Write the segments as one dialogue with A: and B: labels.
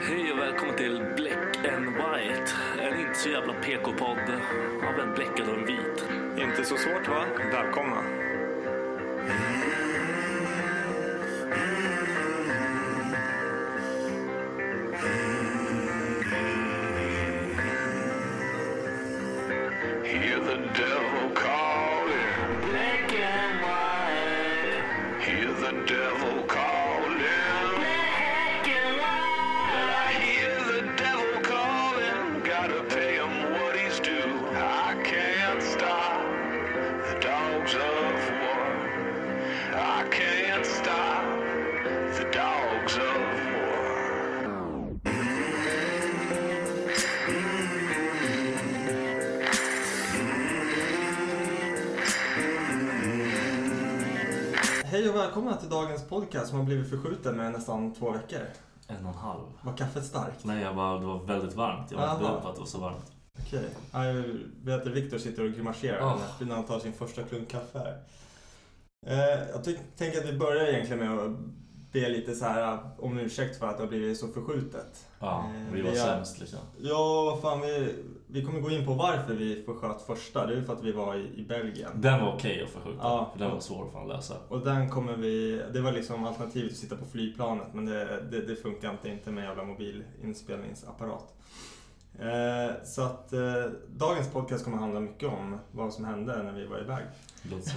A: Hej och välkommen till Black and White. En inte så jävla PK-podd av en bläckad och en vit.
B: Inte så svårt va? Välkomna.
C: Hear the devil calling. Black and white. Hear the devil calling. Black and white. I hear the devil calling. Gotta pay him what he's due. I can't stop the dogs of war. I can't stop the dogs of war.
B: Hej och välkomna till dagens podcast som har blivit förskjuten med nästan två veckor.
A: En och en halv.
B: Var kaffet starkt?
A: Nej, jag var, det var väldigt varmt. Jag var inte
B: Aha.
A: beredd på att det var så varmt.
B: Okej. Ja, Jag vet att Viktor sitter och grimaserar
A: Ah.
B: när- när han tar sin första klunk kaffe här. Eh, Jag ty- tänker att vi börjar egentligen med att be lite så här eh, om ursäkt för att det har blivit så förskjutet.
A: Ja,
B: Eh,
A: vi var
B: vi är-
A: sämst liksom.
B: Ja, vad fan, vi, vi kommer gå in på varför vi försköt första. Det är ju för att vi var i, i Belgien.
A: Den var okej att förskjuta.
B: Ja.
A: för Den var svår att fan lösa.
B: Och den kommer vi, det var liksom alternativet att sitta på flygplanet men det, det, det funkar inte, inte med jävla mobilinspelningsapparat. Eh, så att eh, dagens podcast kommer handla mycket om vad som hände när vi var iväg.
A: Det låter som,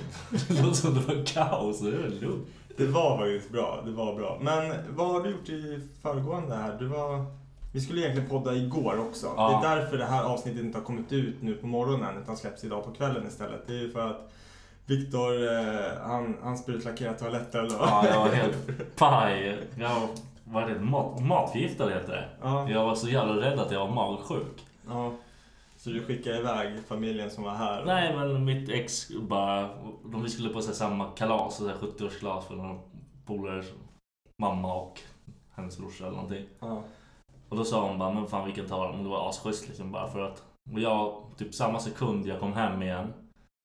A: det låter som det var kaos. Det är lugnt.
B: Det var faktiskt bra, det var bra. Men vad har du gjort i föregående här? Du var, vi skulle egentligen podda igår också.
A: Ja.
B: Det är därför det här avsnittet inte har kommit ut nu på morgonen utan släpps idag på kvällen istället. Det är ju för att Viktor, eh, han, han sprutlackerar toaletter eller vad?
A: Ja, jag var helt paj. Jag var det mat, matförgiftad heter det.
B: Ja.
A: Jag var så jävla rädd att jag var magsjuk.
B: Ja. Så du skickade iväg familjen som var här?
A: Nej men mitt ex bara, de vi skulle på så här samma kalas, så här 70-årskalas för några polares mamma och hennes brorsa eller någonting.
B: Ja.
A: Och då sa hon bara, men fan vi kan ta dem. Det var asschysst liksom bara för att. Och jag, typ samma sekund jag kom hem igen,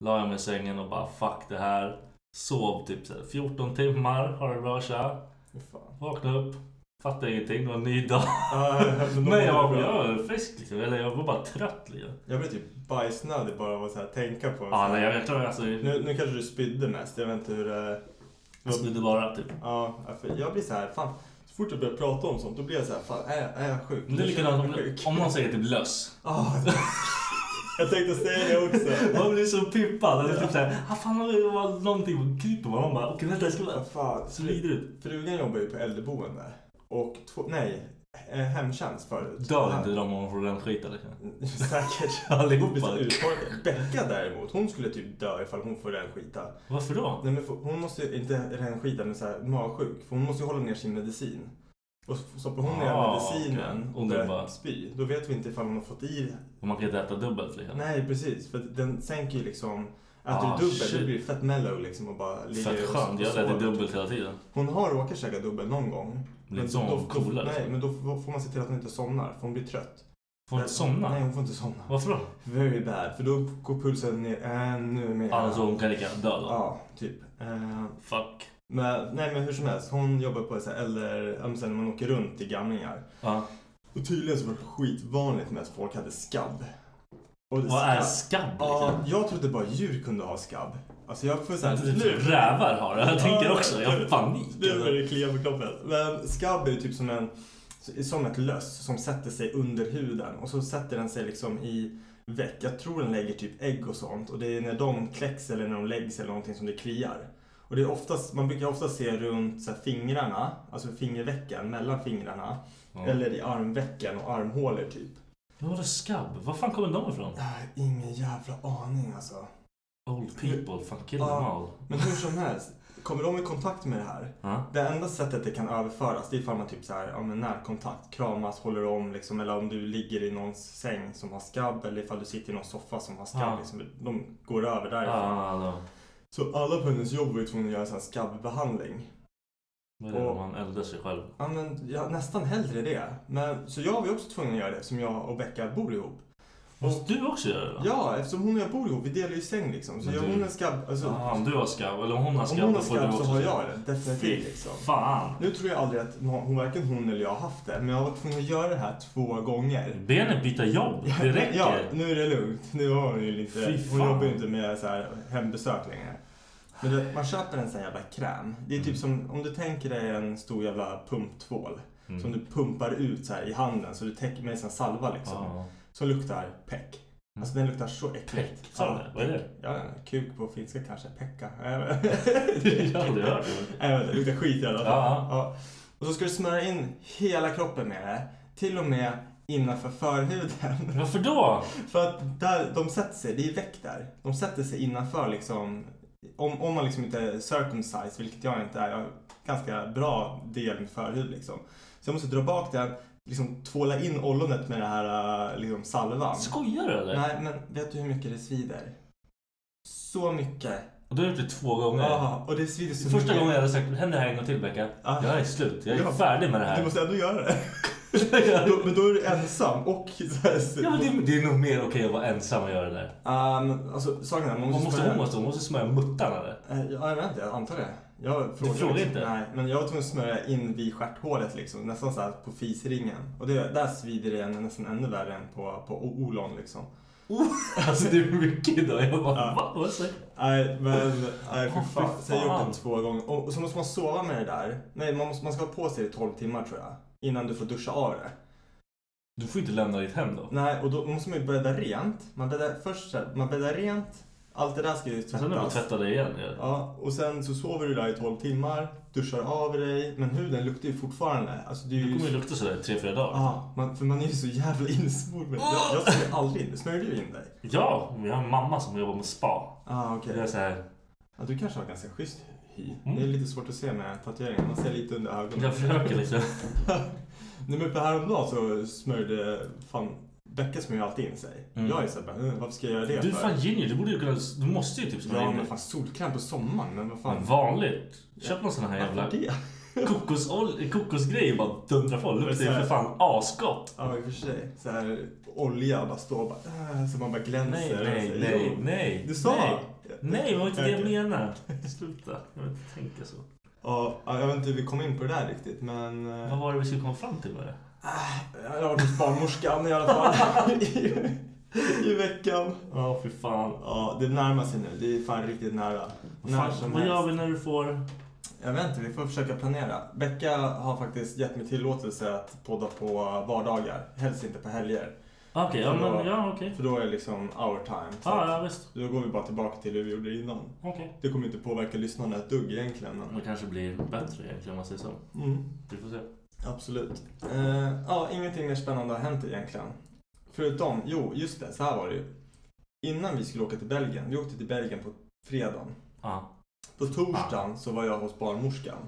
A: la jag mig i sängen och bara fuck det här. Sov typ så här 14 timmar, har det bra tja.
B: Fy fan.
A: Vaknade upp, fattade ingenting, det var en ny dag.
B: Ja, men då
A: men jag
B: var
A: var,
B: det
A: jag
B: bra.
A: var frisk liksom, eller jag var bara trött liksom.
B: Jag blev typ bajsnödig bara av att så här tänka på det.
A: Ja, nej, jag, jag klarar alltså,
B: nu, nu kanske du spydde mest, jag vet inte hur eh, det...
A: jag snudde bara typ.
B: Ja, för jag blir så här, fan. Så fort jag börjar prata om sånt, då blir jag så här, fan är, jag- är jag sjuk?
A: Men Det är
B: Nu känner
A: likadant
B: jag
A: om,
B: mig sjuk.
A: om någon säger typ löss.
B: Ah, jag tänkte säga det också.
A: Man blir så pippad. Eller typ såhär, ah, fan har det var någonting och kryper man. Man bara, okej vänta jag ska bara...
B: Vad fan.
A: Så vidrigt.
B: Frugan jobbar ju på äldreboende. Och två, nej, eh, hemtjänst förut.
A: Dör inte de om de får den skiten? liksom?
B: Säkert.
A: Allihopa.
B: Uttorkade. Becka däremot, hon skulle typ dö ifall hon får renskita.
A: Varför då?
B: Nej men för- hon måste ju, inte renskita men så här magsjuk. För hon måste ju hålla ner sin medicin. Och s- stoppar hon ner
A: Ah,
B: medicinen
A: okej.
B: och
A: Och den
B: börjar
A: bara-
B: spy. Då vet vi inte ifall hon har fått i
A: Och man kan inte äta dubbelt liksom.
B: Nej precis, för den sänker ju liksom... Äter
A: Ah,
B: du dubbel,
A: shit.
B: du blir fett mellow liksom och bara ligger
A: Fett
B: och-
A: skönt.
B: och
A: Jag äter
B: sover.
A: dubbelt hela tiden.
B: Hon har råkat käka dubbel någon gång.
A: Blir inte så
B: då,
A: coolare,
B: Nej,
A: liksom.
B: men då får får man se till att hon inte somnar, för hon blir trött.
A: Får man inte
B: Nej,
A: somna?
B: hon får inte somna.
A: Varför då?
B: Very bad, för då går pulsen ner ännu mer.
A: Alltså hon kan lika gärna dö då.
B: Ja, typ. Eh,
A: Fuck.
B: men, nej men hur som helst, hon jobbar på så här, eller ja, men sen när man åker runt till gamlingar.
A: Ja.
B: Och tydligen så var det skitvanligt med att folk hade skabb. Och det-
A: Vad är skabb
B: Ja,
A: liksom?
B: jag trodde bara djur kunde ha skabb. Alltså jag får
A: Jag
B: såhär...
A: tror typ Rävar har det. Jag tänker också. Jag har panik.
B: Nu börjar
A: alltså.
B: det klia på kroppen. Men skabb är ju typ som en... Som ett löss som sätter sig under huden och så sätter den sig liksom i väck. Jag tror den lägger typ ägg och sånt och det är när de kläcks eller när de läggs eller någonting som det kliar. Och det är oftast, man brukar ofta se runt så här fingrarna, alltså fingervecken mellan fingrarna. Eller i armvecken och armhålor typ.
A: Men vadå skabb? Var fan kommer de ifrån?
B: Ah, Ingen jävla aning alltså.
A: Old people, fan kill them
B: Ja.
A: all.
B: Men hur som helst, kommer de i kontakt med det här?
A: Ja.
B: Det enda sättet det kan överföras det är ifall man typ så här, ja, men närkontakt, kramas, håller om liksom, eller om du ligger i någons säng som har skabb eller ifall du sitter i någon soffa som har skabb.
A: Ja.
B: Liksom, de går över
A: Ja,
B: därifrån.
A: ja, ja.
B: Så alla på hennes jobb var ju tvungna att göra en sån här skabbbehandling.
A: Vad är det
B: Och-
A: man eldar sig själv?
B: Ja, men jag, nästan hellre det. Men, så jag var ju också tvungen att göra det som jag och Becka bor ihop.
A: Måste du också göra det då?
B: Ja, eftersom hon och jag bor ihop, vi delar ju säng liksom. Så
A: Men
B: gör
A: du-
B: hon en skabb, alltså,
A: Ah, om du har skabb, eller om hon har
B: om
A: skabb,
B: hon har
A: då får du
B: skabb så
A: också
B: har
A: skabb.
B: jag det. Definitivt liksom.
A: Fan!
B: Nu tror jag aldrig att nå- hon, varken hon eller jag har haft det, men jag har varit tvungen att göra det här två gånger.
A: Benet byta jobb, det räcker.
B: Ja, nu är det lugnt. Nu har hon
A: Fy
B: ju lite...
A: fan.
B: Hon jobbar ju inte med så här hembesök längre. Men du, vet, man köper en sån jävla kräm. Det är typ
A: Mm.
B: som om du tänker dig en stor jävla pumptvål.
A: Mm.
B: Som du pumpar ut så här i handen så du täcker med en sån salva liksom.
A: Ja. Mm.
B: Som luktar peck. Alltså den luktar så äckligt.
A: Peck? Sa du det? Vad är det?
B: Ja, ja, kuk på finska kanske. Pekka.
A: Jag har aldrig hört det.
B: Nej, vänta, det luktar skit i alla fall.
A: Ja.
B: Ja. Och så ska du smörja in hela kroppen med det. Till och med innanför förhuden.
A: Varför då?
B: För att där de sätter sig, det är väck där. De sätter sig innanför liksom. Om, om man liksom inte är circumcised, vilket jag inte är. Jag har ganska bra del med förhud liksom. Så jag måste dra bak den, liksom tvåla in ollonet med det här äh, liksom salvan.
A: Skojar du eller?
B: Nej, men vet du hur mycket det svider? Så mycket.
A: Och du har gjort det två gånger.
B: Ja, och det svider så
A: Första
B: mycket.
A: gången jag hade sagt händer det här en gång till Becka.
B: Ah.
A: Jag är slut, jag är
B: Ja.
A: färdig med det här.
B: Du måste ändå göra det.
A: Ja.
B: Då- men då är du ensam och så här,
A: Ja, men det, det är nog mer okej att vara ensam och göra det där.
B: Ah, men, alltså, saken är, man
A: Vad
B: måste...
A: måste hon måste, hon måste smörja muttarna eller?
B: Eh, Ja, jag vet inte, jag antar det. Jag frågar
A: frågar
B: liksom,
A: inte?
B: Nej, men jag var tvungen att smörja in vid stjärthålet liksom, nästan så här på fisringen. Och det, där svider det en- nästan ännu värre än på, på o- olon liksom.
A: Alltså det är mycket idag. Jag bara
B: Ja.
A: va? Vad säger
B: Nej, men nej, för
A: Åh,
B: fan.
A: fy
B: Så jag har
A: fan.
B: gjort det två gånger. Och, och så måste man sova med det där. Nej, man, måste, man ska ha på sig det i 12 timmar tror jag. Innan du får duscha av det.
A: Du får inte lämna ditt hem då.
B: Nej, och då måste man ju bädda rent. Man bäddar, först så här, man bäddar rent. Allt det där ska ju
A: Sen när du
B: tvättas.
A: tvätta dig igen. Ja.
B: Ja, och sen så sover du där i 12 timmar, duschar av dig, men huden luktar ju fortfarande. Alltså det är
A: Det
B: ju...
A: kommer ju lukta sådär i tre, fyra dagar.
B: Ja, man, för man är ju så jävla insmord med det.
A: Ah!
B: Jag, jag smörjer aldrig in Smörjer du in dig?
A: Ja, men jag har en mamma som jobbar med spa.
B: Ah,
A: Det
B: okej.
A: är så här,
B: Ja, du kanske har ganska schysst hy.
A: Mm.
B: Det är lite svårt att se med tatueringen. Man ser lite under ögonen.
A: jag försöker liksom.
B: Nej men på häromdagen så smörjde fan Becka smörjer alltid in sig.
A: Mm.
B: Jag är såhär, bara, "Eh, varför ska jag göra det
A: Du är
B: för?
A: fan junior, du borde ju kunna, du måste ju typ smörja
B: Ja
A: in
B: men
A: dig.
B: fan solkräm på sommaren, men vad fan.
A: Men vanligt. Köp någon sån här jävla
B: Varför det?
A: kokosol- kokosgrej och bara dundra på. Luktar ju
B: Så här-
A: för fan asgott.
B: Ja i och för sig. Såhär olja bara står bara, "Ah", så man bara glänser.
A: Nej, nej,
B: Alltså,
A: nej,
B: jo.
A: nej.
B: Du sa.
A: Nej, nej det var inte det jag
B: Okej.
A: menar. Sluta, jag vill inte tänka så.
B: Ja, jag vet inte hur vi kom in på det där riktigt men... eh,
A: Vad var det vi skulle komma fram till med det?
B: Jag har varit hos barnmorskan i alla fall. I, I veckan.
A: Ja, fy fan.
B: Ja, det närmar sig nu. Det är fan riktigt nära. När
A: fan
B: som
A: vad gör
B: helst.
A: vi när du får...
B: Jag vet inte, vi får försöka planera. Becka har faktiskt gett mig tillåtelse att podda på vardagar. Helst inte på helger.
A: Okej, ja
B: För då-
A: men ja okej.
B: För då är det liksom our time. Så
A: Ja,
B: att-
A: ja visst.
B: Då går vi bara tillbaka till hur vi gjorde innan.
A: Okej.
B: Det kommer inte påverka lyssnarna ett dugg egentligen.
A: Det kanske blir bättre egentligen om man säger så.
B: Men... Mm.
A: Vi får se.
B: Absolut. Eh, ja, ingenting mer spännande har hänt egentligen. Förutom, jo, just det, så här var det ju. Innan vi skulle åka till Belgien, vi åkte till Belgien på fredagen.
A: Ja.
B: På torsdagen så var jag hos barnmorskan.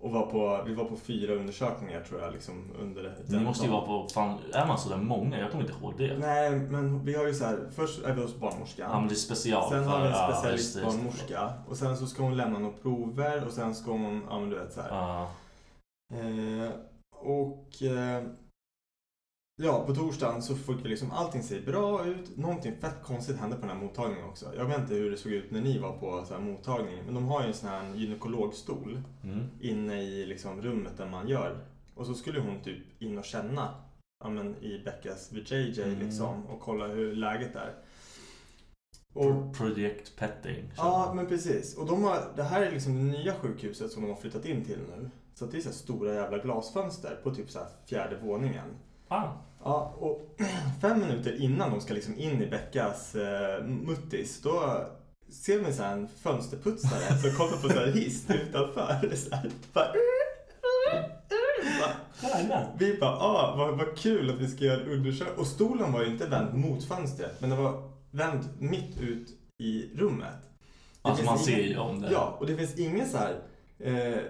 B: Och var på, vi var på fyra undersökningar tror jag, liksom under
A: Ni måste ju vara
B: dagen.
A: på, fan, är man sådär många? Jag kommer inte ihåg det.
B: Nej, men vi har ju så här, först är vi hos barnmorskan.
A: Ja men det är special.
B: Sen har vi
A: för- ja,
B: en
A: just det, just det.
B: specialistbarnmorska och sen så ska hon lämna några prover och sen ska hon, ja men du vet så här.
A: Ja.
B: Eh, och eh, ja, på torsdagen så fick vi liksom allting ser bra ut. Någonting fett konstigt hände på den här mottagningen också. Jag vet inte hur det såg ut när ni var på så här mottagningen, men de har ju en sån här gynekologstol
A: Mm.
B: inne i liksom rummet där man gör. Och så skulle hon typ in och känna ja, men, i Beckas VJJ
A: Mm.
B: liksom och kolla hur läget är. Och
A: Pro- Project petting. kör
B: Ja,
A: man.
B: men precis. Och de har, det här är liksom det nya sjukhuset som de har flyttat in till nu. Så att det är så här stora jävla glasfönster på typ så här fjärde våningen.
A: Fan.
B: Ja, och fem minuter innan de ska liksom in i Beckas eh, muttis, då ser man så här en fönsterputsare som kommer på så här hiss utanför. Så här, bara, bara,
A: Jävlar.
B: vi bara, ah, vad, vad kul att vi ska göra en undersökning. Och stolen var ju inte vänd mot fönstret, men den var vänd mitt ut i rummet. Det
A: Alltså
B: finns
A: man
B: ingen-
A: ser ju om det.
B: Ja, och det finns inga så här eh,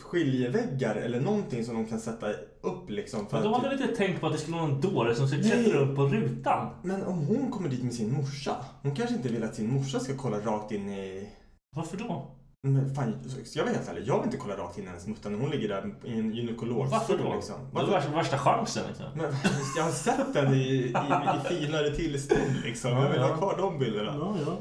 B: skiljeväggar eller någonting som de kan sätta upp liksom. För
A: Men de
B: att,
A: hade väl inte tänkt på att det skulle vara en dåre som skulle
B: Nej.
A: klättra upp på rutan?
B: Men om hon kommer dit med sin morsa, hon kanske inte vill att sin morsa ska kolla rakt in i...
A: Varför då?
B: Men fan, jag vet helt ärligt, jag vill inte kolla rakt in i hennes mutta när hon ligger där i en gynekologstol
A: Varför då?
B: liksom.
A: Det var
B: Varför?
A: värsta, värsta chansen liksom.
B: Men jag har sett den i, i, i finare tillstånd liksom. Jag vill ha kvar de bilderna.
A: ja.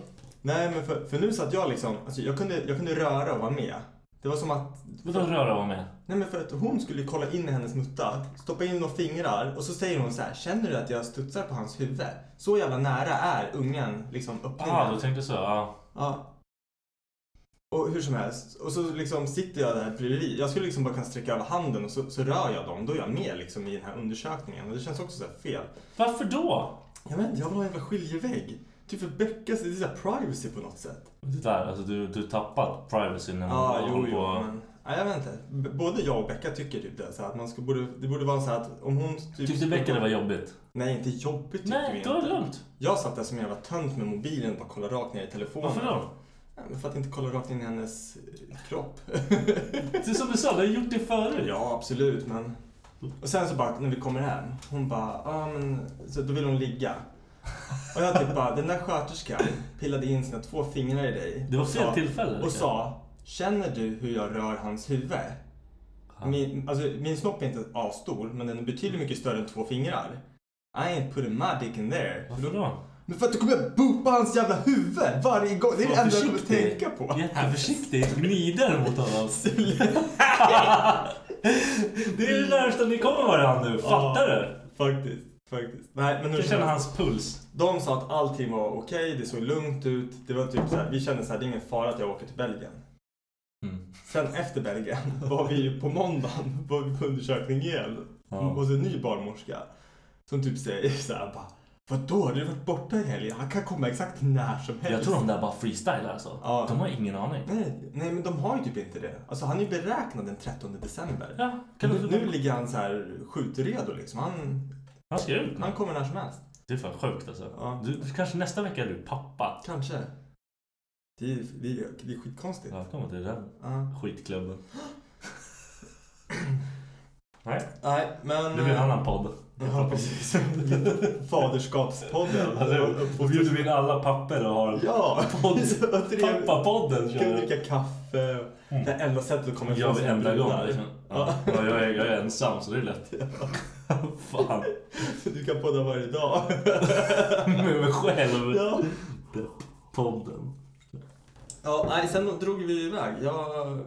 B: Nej men för, för nu satt jag liksom, alltså jag kunde, jag kunde röra och vara med. Det var som att...
A: Vadå röra var med?
B: Nej men för att hon skulle kolla in i hennes mutta, stoppa in några fingrar och så säger hon så här, känner du att jag studsar på hans huvud? Så jävla nära är ungen liksom öppningen.
A: Ja, du Ah, tänkte så. Ja.
B: Ja. Och hur som helst, och så liksom sitter jag där bredvid. Jag skulle liksom bara kunna sträcka över handen och så, så rör jag dem. Då är jag med liksom i den här undersökningen och det känns också så här fel.
A: Varför då?
B: Jag vet inte, jag vill ha en jävla skiljevägg. Typ för Beckas, det är så här privacy på något sätt.
A: Det där, alltså du, du tappat privacy när
B: Ja,
A: man
B: ah, jo,
A: håller
B: jo,
A: på-
B: men... Ja, jag vet inte. B- både jag och Becka tycker typ det. Så här, att man ska, borde, det borde vara så här att om hon... Typ,
A: Tyckte Becka det var jobbigt?
B: Nej, inte jobbigt tyckte vi
A: Nej, då är det
B: inte.
A: lugnt.
B: Jag satt där som en jävla tönt med mobilen och bara kollade rakt ner i telefonen.
A: Varför då?
B: Nej, men för att inte kolla rakt in i hennes eh, kropp.
A: Det är som du sa, du har gjort det förut.
B: Ja, absolut, men... Och sen så bara, när vi kommer hem, hon bara, ja ah, men... Så då vill hon ligga. Och jag typ bara, den där sköterskan pillade in sina två fingrar i dig.
A: Det var
B: och
A: fel
B: sa-
A: tillfälle,
B: Och
A: kanske.
B: sa, känner du hur jag rör hans huvud? Min, alltså, min snopp är inte asstor, men den är betydligt mycket större än två fingrar. I ain't putting my dick in there.
A: Varför då?
B: Men för att du kommer jag boopa hans jävla huvud varje gång. Det är det
A: Var
B: enda jag kommer
A: försiktig.
B: tänka på.
A: Jätteförsiktig. Gnider mot honom. det är det närmsta ni kommer varandra nu. Fattar du?
B: Faktiskt, faktiskt. Nej, men hur
A: Jag
B: som
A: känner
B: helst.
A: hans puls.
B: De sa att allting var okej, det såg lugnt ut. Det var typ så här, vi kände så här, det är ingen fara att jag åker till Belgien.
A: Mm.
B: Sen efter Belgien var vi ju på måndagen var vi på undersökning igen hos en ny barnmorska. Som typ säger så här bara, vadå, du har varit borta i helgen? Han kan komma exakt när som helst.
A: Jag tror de där bara freestylar alltså.
B: Ja.
A: De har ingen aning.
B: Nej, nej, men de har ju typ inte det. Alltså han är ju beräknad den 13 december.
A: Ja, kan
B: nu,
A: du-
B: nu ligger han så här skjutredo liksom. Han,
A: Han ska ut nu.
B: han kommer när som helst.
A: Det är fan sjukt alltså.
B: Ja.
A: Mm. Du, kanske nästa vecka är du pappa.
B: Kanske. Det är, det är, det är skitkonstigt.
A: Välkommen till den
B: Ja.
A: skitklubben. Nej,
B: Nej, men... eh,
A: det blir en annan podd.
B: Ja, precis. Faderskapspodden.
A: Alltså, Och bjuder vi in alla papper och har
B: Ja!
A: podd.
B: Och trevligt.
A: Pappapodden
B: Kan vi
A: kör vi.
B: dricka kaffe.
A: Mm.
B: Det enda sättet att komma
A: Jag
B: sina
A: är enda
B: brudar.
A: gången. Liksom. Ja. Ja, jag, är, jag är ensam så det är lätt. Fan.
B: Du kan podda varje dag.
A: Med mig själv.
B: Ja.
A: Podden.
B: ja, nej, sen drog vi iväg. Jag,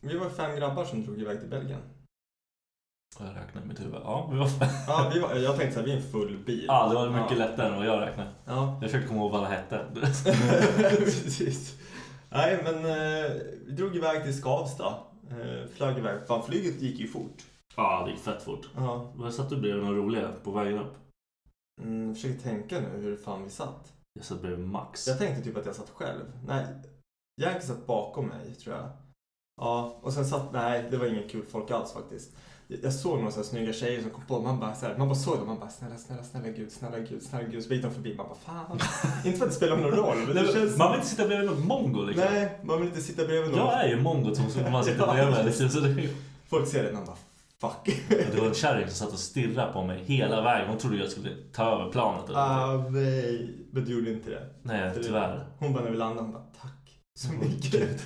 B: vi var fem grabbar som drog iväg till Belgien.
A: Och jag räknar i mitt huvud. Ja, vi var fem.
B: Ja, vi var, jag tänkte så här, vi är en full bil.
A: Ja, det var mycket
B: Ja.
A: lättare än vad jag räknade.
B: Ja.
A: Jag försökte komma ihåg vad alla hette.
B: Precis. Nej, men eh, vi drog iväg till Skavsta. Eh, flög iväg. Fan, flyget gick ju fort.
A: Ja, det gick fett fort.
B: Ja.
A: Var satt du bredvid några roliga på vägen upp?
B: Mm, jag försöker tänka nu hur fan vi satt.
A: Jag satt bredvid Max.
B: Jag tänkte typ att jag satt själv. Nej, Janke satt bakom mig, tror jag. Ja, och sen satt... Nej, det var ingen kul folk alls faktiskt. jag såg några så här snygga tjejer som kom på, man bara, så här, man bara såg dem, man bara snälla, snälla, snälla gud, snälla gud, snälla gud, så gick de förbi, man bara fan. inte för att det spelar någon roll, men det känns...
A: Man vill inte sitta bredvid något mongo liksom.
B: Nej, man vill inte sitta bredvid någon.
A: Jag är ju mongot som man sitter
B: Ja.
A: bredvid. Liksom, så det,
B: Folk ser det, man bara fuck.
A: det var en kärring som satt och stirrade på mig hela vägen. Hon trodde jag skulle ta över planet. Eller någonting.
B: Ah, nej, men du gjorde inte det.
A: Nej,
B: För det-
A: tyvärr.
B: Hon bara när vi landade, hon bara tack
A: Oh,
B: så mycket.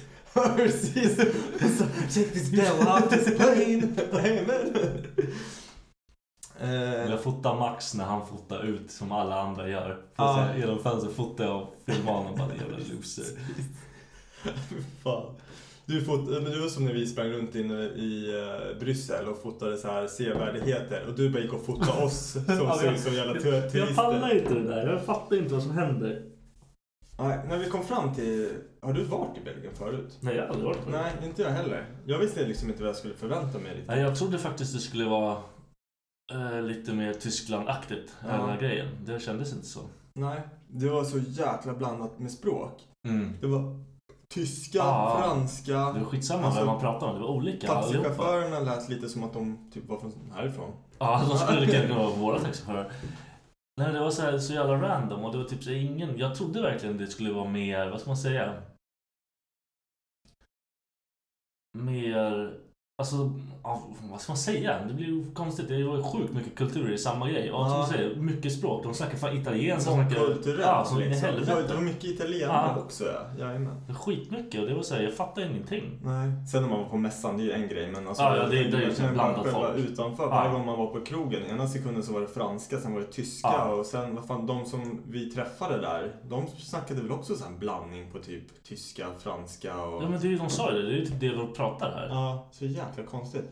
B: Precis. Hon sa, Check this bell out this plane. Amen.
A: Men
B: Eh,
A: Jag fotar Max när han fotar ut som alla andra gör.
B: Ja.
A: Ah. Genom fönstret fotar jag och filmar honom. Bara, jävla loser.
B: fy fan. Du, fot- men du var som när vi sprang runt inne i eh, Bryssel och fotade så här sevärdheter och du bara gick och fotade oss som
A: Ja,
B: ser ut som jävla tu- turister.
A: jag pallar inte det där. Jag fattar inte vad som händer.
B: Nej, när vi kom fram till... Har du varit i Belgien förut?
A: Nej, jag har aldrig varit med.
B: Nej, inte jag heller. Jag visste liksom inte vad jag skulle förvänta mig riktigt.
A: Nej, jag trodde faktiskt det skulle vara eh, lite mer Tyskland-aktigt,
B: Ja.
A: hela grejen. Det kändes inte så.
B: Nej, det var så jäkla blandat med språk. Det var tyska,
A: Ja.
B: franska.
A: Ah. Det var skitsamma
B: Alltså,
A: vem man pratade om, det var olika allihopa.
B: Taxichaufförerna lät lite som att de typ var från härifrån.
A: Ja, de skulle lika gärna kunna vara våra taxichaufförer. Nej, det var så, här, så jävla random och det var typ så ingen... Jag trodde verkligen det skulle vara mer, vad ska man säga? Mer... Alltså, ja, vad ska man säga? Det blir ju konstigt. Det var ju sjukt mycket kulturer i samma grej. Och som
B: Ja.
A: du säger, mycket språk. De snackar fan italienska. de snackar-
B: Mångkulturellt.
A: Ja, som in i
B: liksom. Det var-
A: helvete. Ah.
B: Det var mycket italienare
A: Ja.
B: också, ja. Jajamän.
A: Skitmycket och det var såhär, jag fattar ingenting.
B: Nej. Sen när man var på mässan, det är ju en grej. Men alltså,
A: Ja, ja, det är- det är ju typ
B: men
A: blandat
B: själva
A: folk.
B: utanför,
A: Ja.
B: varje gång man var på krogen. Ena sekunden så var det franska, sen var det tyska.
A: Ja.
B: Och sen, vad fan, de som vi träffade där, de snackade väl också så här en blandning på typ tyska, franska och...
A: Ja men det är ju, de sa ju det, det är ju typ det de pratar här.
B: Ja, så jäkla konstigt.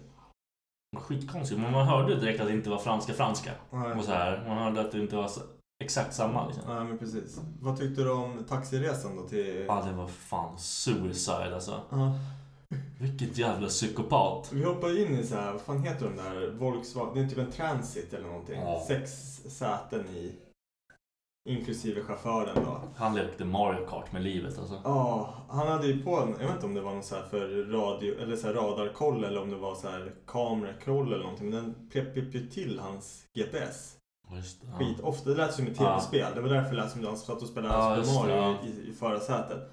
A: Skitkonstigt, men man hörde direkt att det inte var franska franska.
B: Nej.
A: Och så här, man hörde att det inte var så, exakt samma liksom.
B: Nej, men precis. Vad tyckte du om taxiresan då till...
A: Ja det var fan suicide alltså.
B: Ja.
A: Vilket jävla psykopat.
B: Vi hoppade in i så här, vad fan heter de där? Volkswagen, det är typ en Transit eller någonting.
A: Ja.
B: Sex säten i. Inklusive chauffören då.
A: Han lekte Mario Kart med livet alltså.
B: Ja, han hade ju på en, jag vet inte om det var någon så här för radio, eller så här radarkoll eller om det var så här kamerakoll eller någonting. Men den pep, pep ju till hans GPS.
A: Just det,
B: Skit ofta. Det lät som ett
A: Ja.
B: tv-spel. Det var därför det lät som att han satt och spelade
A: Ja, just
B: Super Mario
A: det, ja.
B: i, i förarsätet.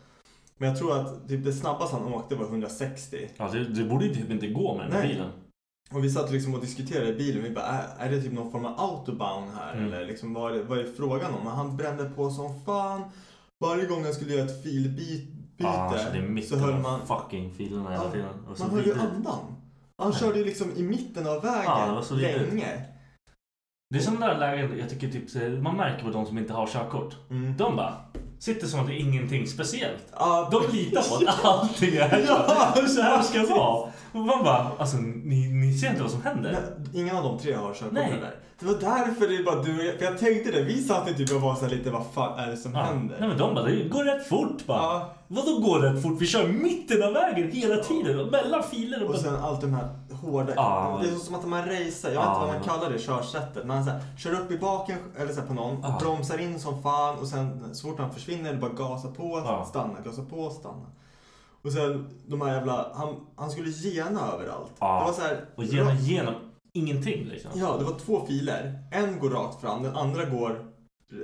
B: Men jag tror att typ det snabbaste han åkte var 160.
A: ja. ja det, det borde ju typ inte gå med den här
B: Nej.
A: bilen.
B: Och vi satt liksom och diskuterade i bilen. Vi bara, är, är det typ någon form av autobahn här?
A: Mm.
B: Eller liksom, vad, är det, vad är frågan om? Och han brände på som fan. Varje gång han skulle göra ett filbyte
A: Ja, alltså, det är
B: så
A: mitten
B: höll
A: av
B: man...
A: fucking filerna hela tiden. Och så
B: man höll ju
A: vidrigt.
B: andan. Han
A: Nej.
B: körde ju liksom i mitten av vägen
A: Ja, det var så vidrigt.
B: länge.
A: Det är sådana där lägen jag tycker typ, så här, man märker på de som inte har körkort.
B: Mm.
A: De bara sitter som att det är ingenting speciellt.
B: Ja,
A: De litar på att allting är
B: Ja,
A: så. så här ska det vara. Och man bara, alltså ni, ni ser inte vad som händer.
B: Nej, Ingen av de tre har körkort
A: Nej.
B: heller. Det var därför det är bara du och jag. För jag tänkte det. Vi satt ju typ och var så här lite, vad fan är det som
A: Ja.
B: händer?
A: Nej men de bara, det går rätt fort bara.
B: Ja.
A: Vadå går rätt fort? Vi kör i mitten av vägen hela tiden. och Mellan filer och...
B: Och sen allt de här hårda,
A: Ja.
B: det är som att man racear, jag vet
A: Ja.
B: inte vad man kallar det körsättet. Man så här, kör upp i baken eller så här på någon,
A: Ja.
B: bromsar in som fan och sen så fort han försvinner är det bara gasa på,
A: Ja.
B: stanna, gasa på, stanna. Och sen de här jävla, han, han skulle gena överallt.
A: Ja.
B: Det var så här,
A: och genom, genom ingenting liksom.
B: ja det var två filer. En går rakt fram, den andra går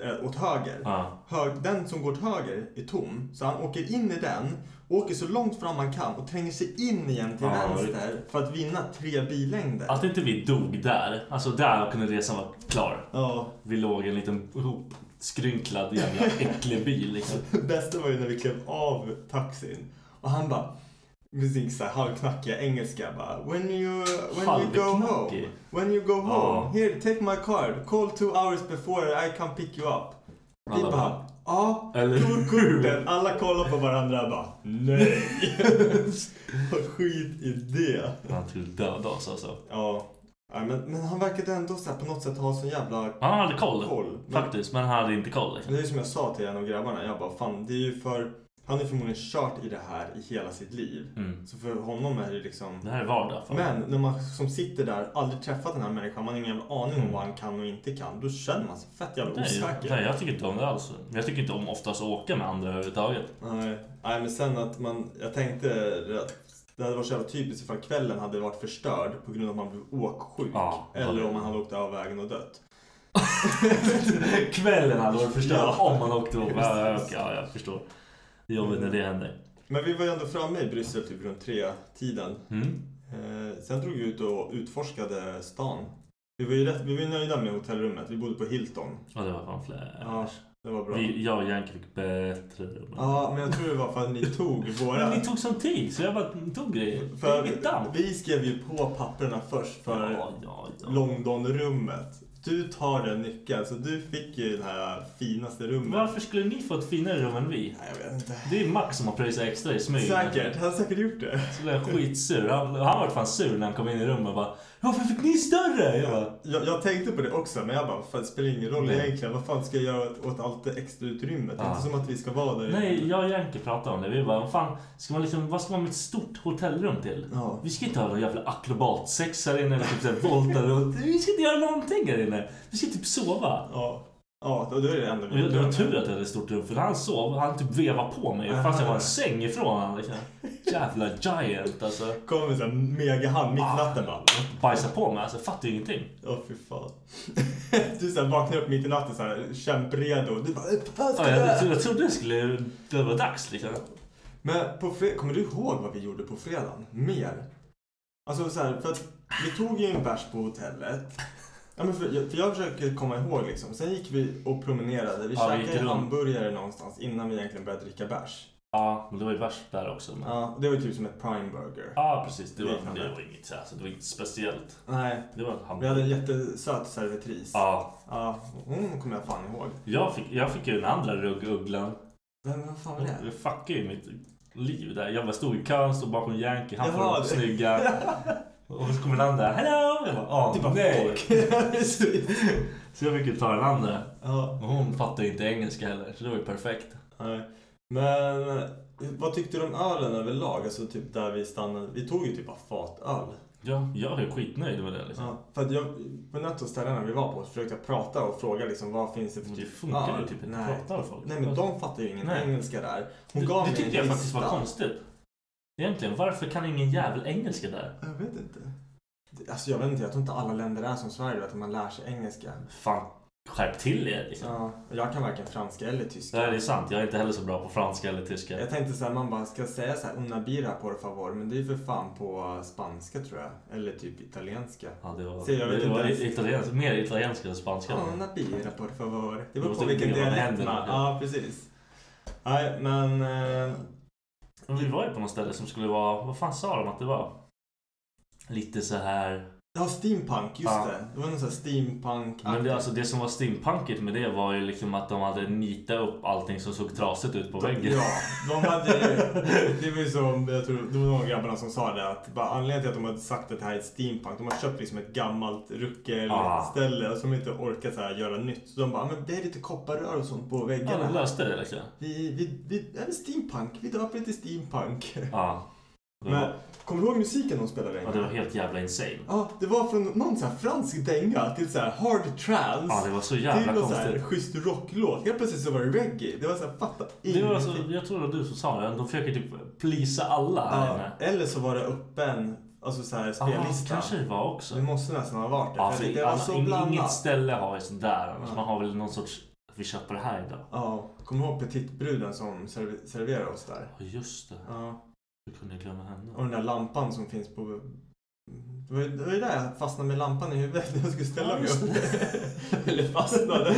B: eh, åt höger.
A: Ja.
B: Hög, den som går åt höger är tom, så han åker in i den, åker så långt fram han kan och tränger sig in igen till
A: Ja,
B: vänster för att vinna tre billängder.
A: Att inte vi dog där. Alltså där kunde resan vara klar.
B: Ja,
A: Vi låg i en liten hopskrynklad jävla äcklig bil liksom.
B: det bästa var ju när vi klev av taxin och han bara med sin så här halvknackiga engelska bara When you, when you go home,
A: Halvknackig.
B: when you go home,
A: Ja.
B: here take my card, call two hours before I can pick you up. Vi
A: Alla
B: bara,
A: bara,
B: ja,
A: Eller hur?
B: korten. Alla kollar på varandra och bara, nej. Vad Skit i det.
A: Han skulle döda oss alltså.
B: Ja, ja men, men han verkade ändå så här, på något sätt ha sån jävla...
A: Han hade koll,
B: Koll, men-
A: faktiskt, men han hade inte koll.
B: Det
A: Liksom.
B: är ju som jag sa till en av grabbarna, jag bara fan det är ju för... Han har förmodligen kört i det här i hela sitt liv.
A: Mm.
B: Så för honom är det liksom...
A: Det här är vardag. För
B: Men när man som sitter där, aldrig träffat den här människan, man har ingen jävla aning om vad han kan och inte kan. Då känner man sig fett jävla
A: Nej,
B: osäker.
A: nej, jag tycker inte om det alls. Jag tycker inte om oftast att åka med andra överhuvudtaget.
B: Nej, nej men sen att man, jag tänkte att Det hade varit så jävla typiskt ifall kvällen hade varit förstörd på grund av att man blev åksjuk.
A: Ja.
B: Eller om man hade åkt av vägen och dött.
A: Kvällen hade varit förstörd
B: Ja.
A: om man åkte upp. Ja, ja, okej, ja, jag förstår. Det är jobbigt när det händer.
B: Men vi var ju ändå framme i Bryssel typ runt tre-tiden.
A: Mm.
B: Eh, sen drog vi ut och utforskade stan. Vi var ju, rätt, vi var ju nöjda med hotellrummet. Vi bodde på Hilton.
A: Ja, det var fan flash.
B: Ja, det var bra.
A: Vi, jag och Janke fick bättre rum.
B: Ja, men jag tror det var för att ni tog våra...
A: Men ni tog sån tid, så jag bara tog grejer. För...
B: För
A: Mitt damm.
B: vi skrev ju på papperna först för
A: Ja, ja, ja.
B: Londonrummet. Du tar den nyckeln, så du fick ju det här finaste rummet.
A: Varför skulle ni få ett finare rum än vi?
B: Nej, jag vet inte.
A: Det är Max som har pröjsat extra i smyg.
B: Säkert, han har säkert gjort det.
A: Så blev jag skitsur. Han, han var fan sur när han kom in i rummet och bara Varför fick ni större? Jag bara,
B: Jag, jag tänkte på det också, men jag bara, fan, det spelar ingen roll
A: Nej.
B: egentligen. Vad fan ska jag göra åt- åt allt det extra utrymmet? Det är
A: Ja.
B: inte som att vi ska vara där.
A: Nej, jag och Janke pratade om det. Vi bara, vad fan, ska man liksom, vad ska man med ett stort hotellrum till?
B: Ja.
A: Vi ska inte ha någon jävla akrobatsex här inne eller typ såhär volta runt. Vi ska inte göra någonting här inne. Vi ska typ sova.
B: Ja, ja då, då är det det enda
A: Och jag- det var tur att jag hade ett stort rum för när han sov, han typ vevade på mig fast jag var en säng ifrån honom liksom. Jävla giant alltså.
B: Kommer med en megahand mitt i
A: Ah.
B: natten bara.
A: Bajsa på mig, alltså jag fattar ju ingenting.
B: Åh fy fan. du så här vaknar upp mitt i natten så här, kämpredo. Du bara, "Fan, ska
A: Ja,
B: jag
A: jag,
B: göra?"
A: jag trodde det skulle det var dags liksom.
B: Men på fred- kommer du ihåg vad vi gjorde på fredagen? Mer? Alltså så här, för att vi tog ju en bärs på hotellet. Ja, men för, jag, för jag försöker komma ihåg liksom. Sen gick vi och promenerade. Vi
A: Ja, vi gick
B: käkade
A: runt.
B: hamburgare någonstans innan vi egentligen började dricka bärs.
A: Ja, men det var ju värst där också. Men... Ja.
B: Ja, det var ju typ som ett prime burger.
A: precis. Det var,
B: Liknande.
A: det var inget så här, så det var inget speciellt.
B: Nej,
A: Det var han.
B: vi hade en jättesöt servitris.
A: Ja,
B: Ja, hon kommer jag fan ihåg.
A: jag fick, jag fick ju den andra ruggugglan.
B: Men vad fan var det?
A: Det fuckade ju mitt liv där. Jag bara stod i kön, stod bakom Yankee, han
B: Jaha,
A: var
B: det-
A: snygga. Och så kommer den andra. Hello! Jag bara,
B: Du
A: ah,
B: bara,
A: nej.
B: Precis.
A: Så jag fick ju ta den andra.
B: ja,
A: Och hon fattade ju inte engelska heller, så det var ju perfekt.
B: nej. Men eh, vad tyckte du om ölen överlag? Alltså typ där vi stannade. Vi tog ju typ bara fatöl.
A: Ja, jag är skitnöjd med det liksom.
B: Ja, för att jag, på något av ställena vi var på försökte jag prata och fråga liksom vad finns det för
A: Men det
B: typ
A: funkar ju
B: öl?
A: typ inte att
B: Nej.
A: prata med folk.
B: Nej men de fattar ju ingen
A: Nej.
B: engelska där. Hon
A: Det,
B: gav
A: det
B: mig en
A: tyckte jag faktiskt
B: lista.
A: var konstigt. Egentligen, varför kan ingen jävel engelska där?
B: Jag vet inte. Det- Alltså jag vet inte, jag tror inte alla länder är som Sverige att man lär sig engelska.
A: Fan, skärp till er liksom.
B: Ja, jag kan varken franska eller
A: Det här
B: tyska.
A: är sant, jag är inte heller så bra på franska eller tyska.
B: Jag tänkte såhär, man bara ska säga såhär una bira por favor, men det är ju för fan på spanska tror jag. Eller typ italienska.
A: Ja, det var,
B: Se, jag vet
A: det var
B: inte ens.
A: italiensk, mer italienska än spanska.
B: Ja, Una bira por favor. Det
A: Det
B: beror på
A: måste
B: vilken
A: bli vad det
B: dialekt
A: händer.
B: man... Ja, precis. Nej, men... eh,
A: Men vi var ju på något ställe som skulle vara, vad fan sa de att det var? Lite så här.
B: Ja, steampunk. Just
A: Ja.
B: det. Det var någon sån här steampunk
A: Men det, alltså, det som var steampunkigt med det var ju liksom att de hade nitat upp allting som såg trasigt ut på väggen.
B: Ja, de hade ju- Det var ju som, jag tror, det var någon av grabbarna som sa det att bara, anledningen till att de hade sagt att det här är ett steampunk, de har köpt liksom ett gammalt
A: Ah.
B: ruckelställe som inte orkar så här göra nytt. Så de bara, "Ah, men det är lite kopparrör och sånt på
A: Ja, de
B: väggarna.
A: löste det liksom.
B: Vi, vi, vi, är det steampunk? Vi döper det till steampunk.
A: Ja. Det
B: Men,
A: var,
B: kommer du ihåg musiken de spelade?
A: ja, det var helt jävla insane.
B: Ja, det var från någon så här fransk dänga till så här hard trance.
A: Ja, det var så jävla
B: till någon så här
A: konstigt.
B: schysst rocklåt. Helt plötsligt så var det reggae. Det var så här, fatta
A: Det var alltså,
B: ingenting.
A: jag tror det var du som sa det, de försöker typ plisa alla här
B: ja,
A: inne.
B: eller så var det öppen, alltså så här
A: Ja,
B: spellista.
A: kanske det var också.
B: Det måste nästan ha varit det.
A: Ja,
B: Mm. för
A: för
B: det var
A: annars-
B: så
A: ing-
B: blandat.
A: inget ställe har ju sånt där. Annars man har väl någon sorts, vi köper det här idag.
B: Ja, kommer du ihåg petitbruden som serv- serverade oss där?
A: Ja, just det.
B: Ja,
A: Vi kunde glömma henne.
B: och den där lampan som finns på... Det var ju det var ju där jag fastnade med lampan i huvudet när jag skulle ställa
A: Ja,
B: mig
A: just
B: upp.
A: det.
B: Eller fastnade.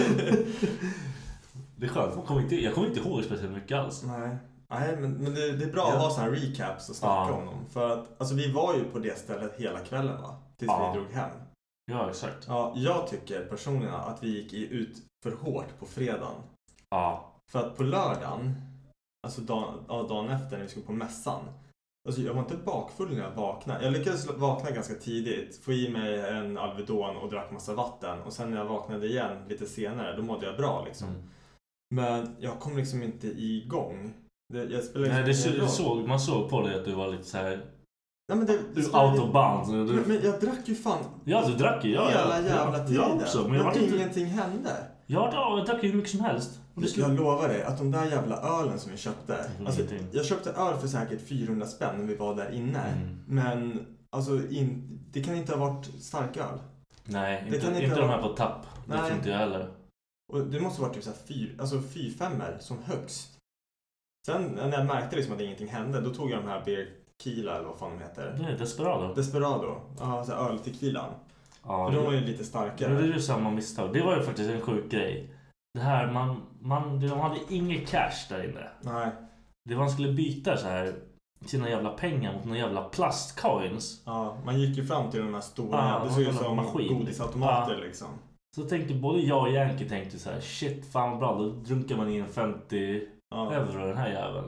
A: Det är skönt, man kommer inte, jag kommer inte ihåg speciellt mycket alls.
B: Nej, Nej men, men det, det är bra
A: Ja.
B: att ha sådana här recaps och snacka
A: Ja.
B: om dem. För att alltså, vi var ju på det stället hela kvällen va? Tills
A: Ja.
B: vi drog hem.
A: Ja, exakt.
B: Ja, jag tycker personligen att vi gick i- ut för hårt på fredagen.
A: Ja.
B: För att på lördagen, alltså dagen, ja, dagen efter när vi skulle på mässan. Alltså jag var inte bakfull när jag vaknade. Jag lyckades vakna ganska tidigt, få i mig en Alvedon och drack massa vatten. Och sen när jag vaknade igen lite senare, då mådde jag bra liksom.
A: Mm.
B: Men jag kom liksom inte igång. Det, jag spelade
A: Nej, det
B: liksom ingen
A: så,
B: roll.
A: såg, man såg på dig att du var lite såhär
B: Nej, men det, det spelade
A: out
B: ju-
A: of bounds.
B: Men,
A: Du,
B: men jag drack ju fan
A: ja, du drack ju. Ja,
B: hela
A: ja,
B: jävla
A: ja,
B: tiden.
A: Jag också, men jag var inte...
B: ingenting hände.
A: Jag har varit- jag drack hur mycket som helst. Och det
B: Jag
A: skulle... Mm.
B: lovar dig att de där jävla ölen som vi köpte. Alltså,
A: Ingenting.
B: jag köpte öl för säkert 400 spänn när vi var där inne.
A: Mm.
B: Men alltså, in, det kan inte ha varit starköl.
A: Nej,
B: Det
A: inte,
B: kan
A: inte,
B: inte
A: de
B: vara-
A: här på tapp. Det
B: Nej.
A: tror inte jag heller.
B: Och det måste ha varit typ så här fyr, alltså fyrfemmor som högst. Sen när jag märkte liksom att ingenting hände, då tog jag de här Beer Kila eller vad fan de heter.
A: Det är Desperado.
B: Desperado. Ja, alltså öltequilan.
A: Ja,
B: För de var ju
A: det,
B: lite
A: men det är
B: starkare.
A: ju samma misstag. Det var ju faktiskt en sjuk grej. Det här, man, man, de hade inget cash där inne.
B: Nej,
A: Det var man skulle byta så här sina jävla pengar mot några jävla plastcoins.
B: ja, man gick ju fram till de här stora.
A: Ja,
B: det såg ut
A: någon
B: som
A: maskin.
B: godisautomater
A: Ja.
B: liksom.
A: Så tänkte både jag och Yankee tänkte så här shit fan vad bra då drunkar man in 50
B: Ja.
A: euro i den här jäveln.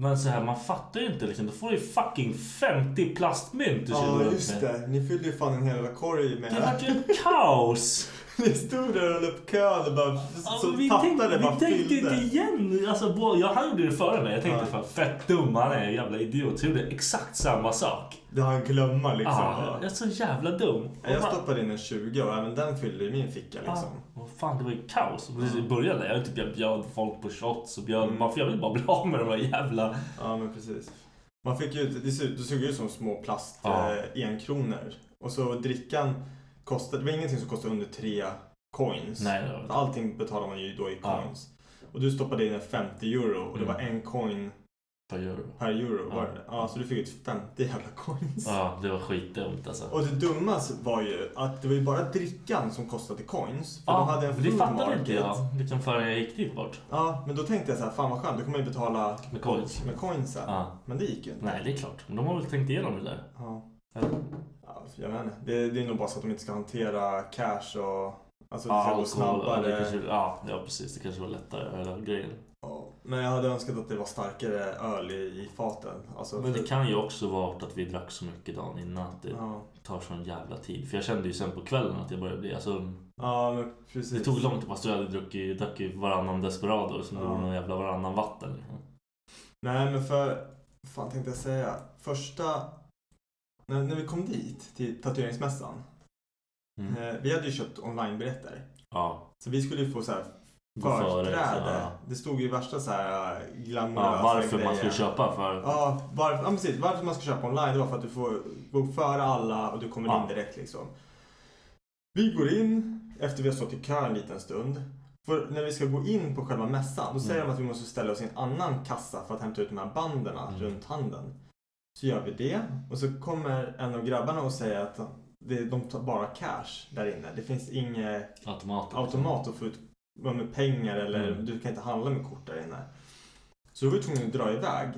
A: Men så här man fattar ju inte liksom. Då får du ju fucking 50 plastmynt du
B: Ja,
A: kör med.
B: just det. Ni fyllde ju fan en hel jävla korg med...
A: Det vart ju ett kaos!
B: Ni stod där och höll upp kön och bara...
A: Alltså,
B: Så
A: vi
B: tattade
A: tänkte,
B: bara
A: vi tänkte inte
B: fyllde.
A: igen. Alltså, bo- jag han gjorde det före mig. Jag tänkte
B: Ja.
A: fan fett dum han är, jävla idiot. Så jag gjorde exakt samma sak.
B: Det har en glömma liksom.
A: Ah, jag är så jävla dum. Och
B: Jag
A: man-
B: stoppade in en 20 och även den fyllde i min ficka liksom.
A: Ah, och fan, det var ju kaos. Och Precis i början där, jag, typ, jag bjöd folk på shots och bjöd... Man, för jag ville bara bli av med de här jävla...
B: Ja, men precis. Man fick ju, det såg, det såg ut som små plast
A: Ja.
B: eh, enkronor. Och så drickan kostade, det var ingenting som kostade under tre coins.
A: Nej, det var det.
B: Allting betalar man ju då i
A: Ja.
B: coins. Och du stoppade in en 50 euro och det
A: Mm.
B: var en coin
A: Vad gör du?
B: per euro.
A: Ja.
B: Var det? Ja, så du fick ut 50 jävla coins.
A: Ja, det var skitdumt alltså.
B: Och det dummaste var ju att det var ju bara drickan som kostade coins. För de hade en
A: men det
B: food
A: fattade
B: market.
A: inte jag. Liksom förrän jag gick dit bort.
B: Ja, men då tänkte jag så här, fan vad skönt, då kommer jag ju betala
A: Med coins.
B: med coinsen.
A: Ja.
B: Men det gick ju inte.
A: Nej, det är klart. Men de har väl tänkt igenom det där.
B: Ja.
A: Eller?
B: Ja, jag vet inte. Det, det är nog bara så att de inte ska hantera cash och...
A: Ja,
B: Alltså det ska gå
A: alkohol,
B: snabbare.
A: ja, det kanske, ja, ja, precis. Det kanske var lättare, eller grejen.
B: Ja, Men jag hade önskat att det var starkare öl i, i faten. Alltså,
A: Men det
B: för-
A: kan ju också vara att vi drack så mycket dagen innan att det
B: Ja,
A: tar sån jävla tid. För jag kände ju sen på kvällen att jag började bli... Alltså,
B: ja men precis.
A: det tog lång tid. Fast jag hade druckit, drack ju varannan Desperado som det
B: Ja.
A: var någon jävla varannan vatten. Liksom.
B: Nej, men för... Vad fan tänkte jag säga? Första... När, när vi kom dit, till tatueringsmässan.
A: Mm.
B: Eh, vi hade ju köpt onlinebiljetter.
A: Ja.
B: Så vi skulle ju få så här
A: Gå före,
B: förträde.
A: ja.
B: Det stod ju värsta så här eh, glamorösa
A: ja varför man skulle
B: grejer.
A: köpa för...
B: Ja, varför, ja, precis. Varför man ska köpa online det var för att du får gå före alla och du kommer
A: Ja.
B: in direkt liksom. Vi går in efter vi har stått i kö en liten stund. För när vi ska gå in på själva mässan då säger
A: Mm.
B: de att vi måste ställa oss i en annan kassa för att hämta ut de här banden
A: Mm.
B: runt handen. Så gör vi det och så kommer en av grabbarna och säger att det, de tar bara cash där inne. Det finns inget
A: Automater.
B: automat och få ut vad med pengar eller
A: Mm.
B: du kan inte handla med kort där inne. Så då var vi tvungna att dra iväg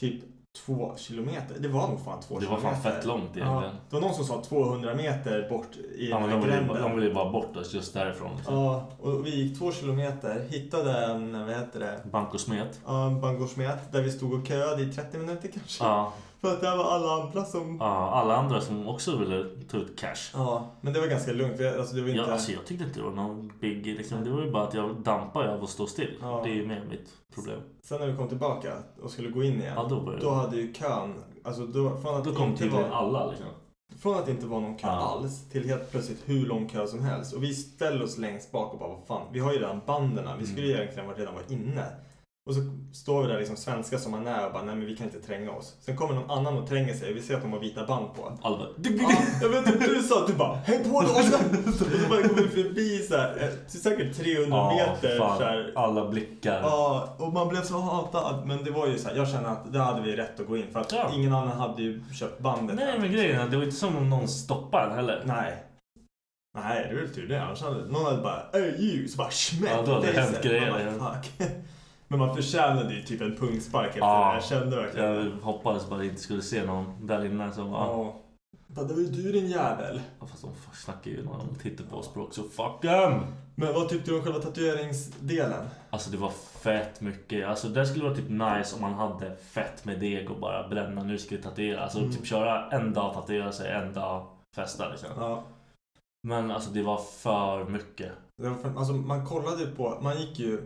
B: typ två kilometer. Det var nog fan två
A: Det var
B: kilometer.
A: fan fett långt egentligen.
B: Ja, det var någon som sa 200 meter bort i
A: Ja,
B: den
A: men
B: här
A: de, ville, ju bara- de
B: gränden.
A: ville ju bara bort oss just därifrån. Liksom.
B: Ja, och vi gick två kilometer, hittade en, vad heter det,
A: Bank och smet.
B: ja, en bangårdsmet där vi stod och köade i 30 minuter kanske.
A: Ja,
B: För att där var alla andra som...
A: ja, alla andra som också ville ta ut cash.
B: Ja, men det var ganska lugnt. för jag- Alltså, det var inte...
A: Ja, alltså jag tyckte inte det var någon big liksom. Det var ju bara att jag dampade av att stå still.
B: Ja.
A: Det är ju mer mitt problem.
B: Sen när vi kom tillbaka och skulle gå in igen.
A: Ja, då började
B: Då hade ju kön, alltså då, från att
A: Då kom
B: inte
A: tydligen
B: var,
A: alla liksom.
B: från att det inte var någon kö
A: Ja.
B: alls till helt plötsligt hur lång kö som helst. Och vi ställer oss längst bak och bara vad fan, vi har ju redan banderna. Vi skulle ju
A: Mm.
B: egentligen varit- redan vara inne. Och så står vi där liksom svenska som man är och bara nej men vi kan inte tränga oss. Sen kommer någon annan och tränger sig och vi ser att de har vita band på.
A: Alla bara...
B: Ja, jag vet inte, du sa du bara hej på dig! Och så bara går vi förbi så här, eh, säkert 300
A: Ja,
B: meter så här,
A: fan. Alla blickar.
B: Ja, och man blev så hatad. Men det var ju så här, jag känner att där hade vi rätt att gå in för att
A: Ja.
B: ingen annan hade ju köpt bandet.
A: Nej
B: än.
A: men grejen är att det var inte som om någon stoppade en heller.
B: Nej. Nej, det är väl tur det. Annars hade någon hade bara Öj you! Så bara smäck!
A: Ja, då hade det
B: face
A: hänt
B: it.
A: grejer,
B: Man bara, fuck. Men man förtjänade ju typ en pungspark efter
A: Ja.
B: det. Jag kände verkligen
A: Jag
B: det.
A: hoppades bara att jag inte skulle se någon där inne som bara...
B: Ja. Bara, Det var ju du din jävel.
A: Ja, Fast de f- snackar ju när de tittar på oss språk så fuck them!
B: Men vad tyckte du om själva tatueringsdelen?
A: Alltså det var fett mycket. Alltså det skulle vara typ nice om man hade fett med deg och bara bränna. Nu ska vi tatuera. Alltså
B: Mm.
A: typ köra en dag tatuera sig, en dag festa liksom.
B: Ja.
A: Men alltså det var för mycket.
B: Det var för- Alltså, man kollade ju på, man gick ju,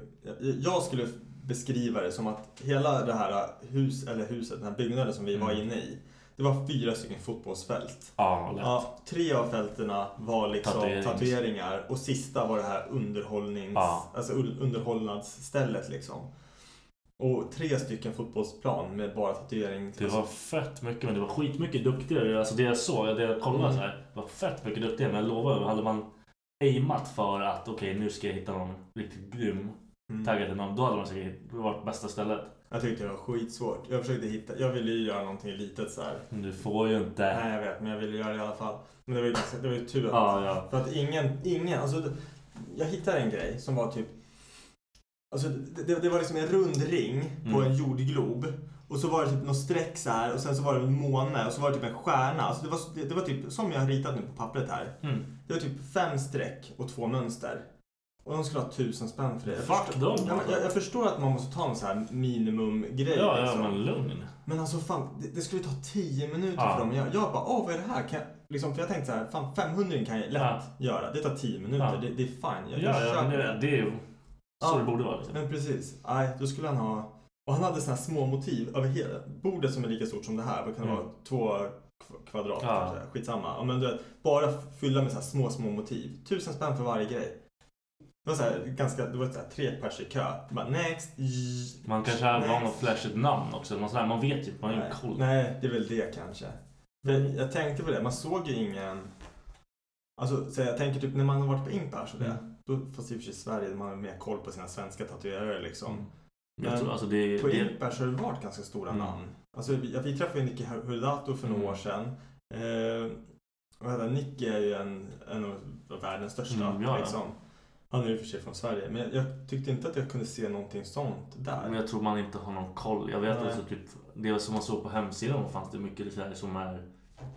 B: jag skulle äh,
A: Mm.
B: beskriva det som att hela det här hus, eller huset, den här byggnaden som vi var inne i. Det var fyra stycken fotbollsfält.
A: Ja, lätt.
B: Ja, tre av fältena var liksom
A: Tatuerings.
B: tatueringar och sista var det här underhållnings...
A: Ja.
B: Alltså un- underhållnadsstället liksom. Och tre stycken fotbollsplan med bara tatuering.
A: Det var fett mycket, men det var skitmycket duktigare. Alltså det jag såg, det jag kollade
B: Mm.
A: så här, det var fett mycket duktigare. Men jag lovar, hade man aimat för att okej, nu ska jag hitta någon riktigt grym
B: Mm.
A: taggad till någon, då hade man säkert varit bästa stället.
B: Jag tyckte det var skitsvårt. Jag försökte hitta, jag ville ju göra någonting litet så här.
A: Men du får ju inte.
B: Nej jag vet, men jag ville göra det i alla fall. Men det var ju, ganska- det var ju tur att...
A: Ja, ja.
B: För att ingen, ingen, alltså det- jag hittade en grej som var typ... Alltså det, det, det var liksom en rund ring på
A: Mm.
B: en jordglob. Och så var det typ något streck så här och sen så var det en måne och så var det typ en stjärna. Alltså det var, det, det var typ som jag har ritat nu på pappret här.
A: Mm.
B: Det var typ fem streck och två mönster. Och de skulle ha tusen spänn för det. Jag
A: Fuck
B: förstår,
A: dem.
B: ja, men jag, jag förstår att man måste ta en sån här minimumgrej.
A: Ja, ja,
B: liksom.
A: men lugn.
B: Men alltså fan, det, det skulle ta 10 minuter
A: Ja.
B: för dem. Jag, jag bara, åh vad är det här? Kan jag, liksom, för jag tänkte så här, fan 500 kan jag lätt
A: Ja.
B: göra. Det tar 10 minuter,
A: Ja.
B: det, det är fine.
A: Ja,
B: Jag,
A: ja,
B: jag köper
A: men det, det är ju så
B: Ja. Mm.
A: det borde vara. Liksom.
B: Men precis, nej då skulle han ha... Och han hade såna här små motiv över hela bordet som är lika stort som det här. Vad kan det
A: Mm.
B: vara? Två kv- kvadrat
A: Ja.
B: kanske, skitsamma. Ja, men du vet, bara fylla med så här små, små motiv. Tusen spänn för varje grej. Det var så här, ganska, det var så här, tre pers i kö. Bara, next! zzz,
A: Man kanske har van att
B: next.
A: flasha ett namn också. Någon sån här, man vet ju, man har ju
B: Nej.
A: koll.
B: Nej, det är väl det kanske. För jag, jag tänkte på det, man såg ju ingen... Alltså, så jag tänker typ när man har varit på Impers och det.
A: Mm.
B: Då, fast i och för sig i Sverige, man har mer koll på sina svenska tatuerare liksom.
A: Mm. Men jag
B: Men
A: tror alltså det,
B: På
A: det,
B: Impers har det varit ganska stora
A: Mm.
B: namn. Alltså, vi, vi träffade ju Nicky Hulato för några
A: Mm.
B: år sedan. Eh, vad heter han? Nicky är ju en, en av världens största.
A: Mm, ja, ja.
B: liksom. Han är ju i och för sig från Sverige, men jag, jag tyckte inte att jag kunde se någonting sånt där.
A: Men jag tror man inte har någon koll. Jag vet
B: Nej.
A: alltså typ det som man såg på hemsidan fanns det mycket så här som är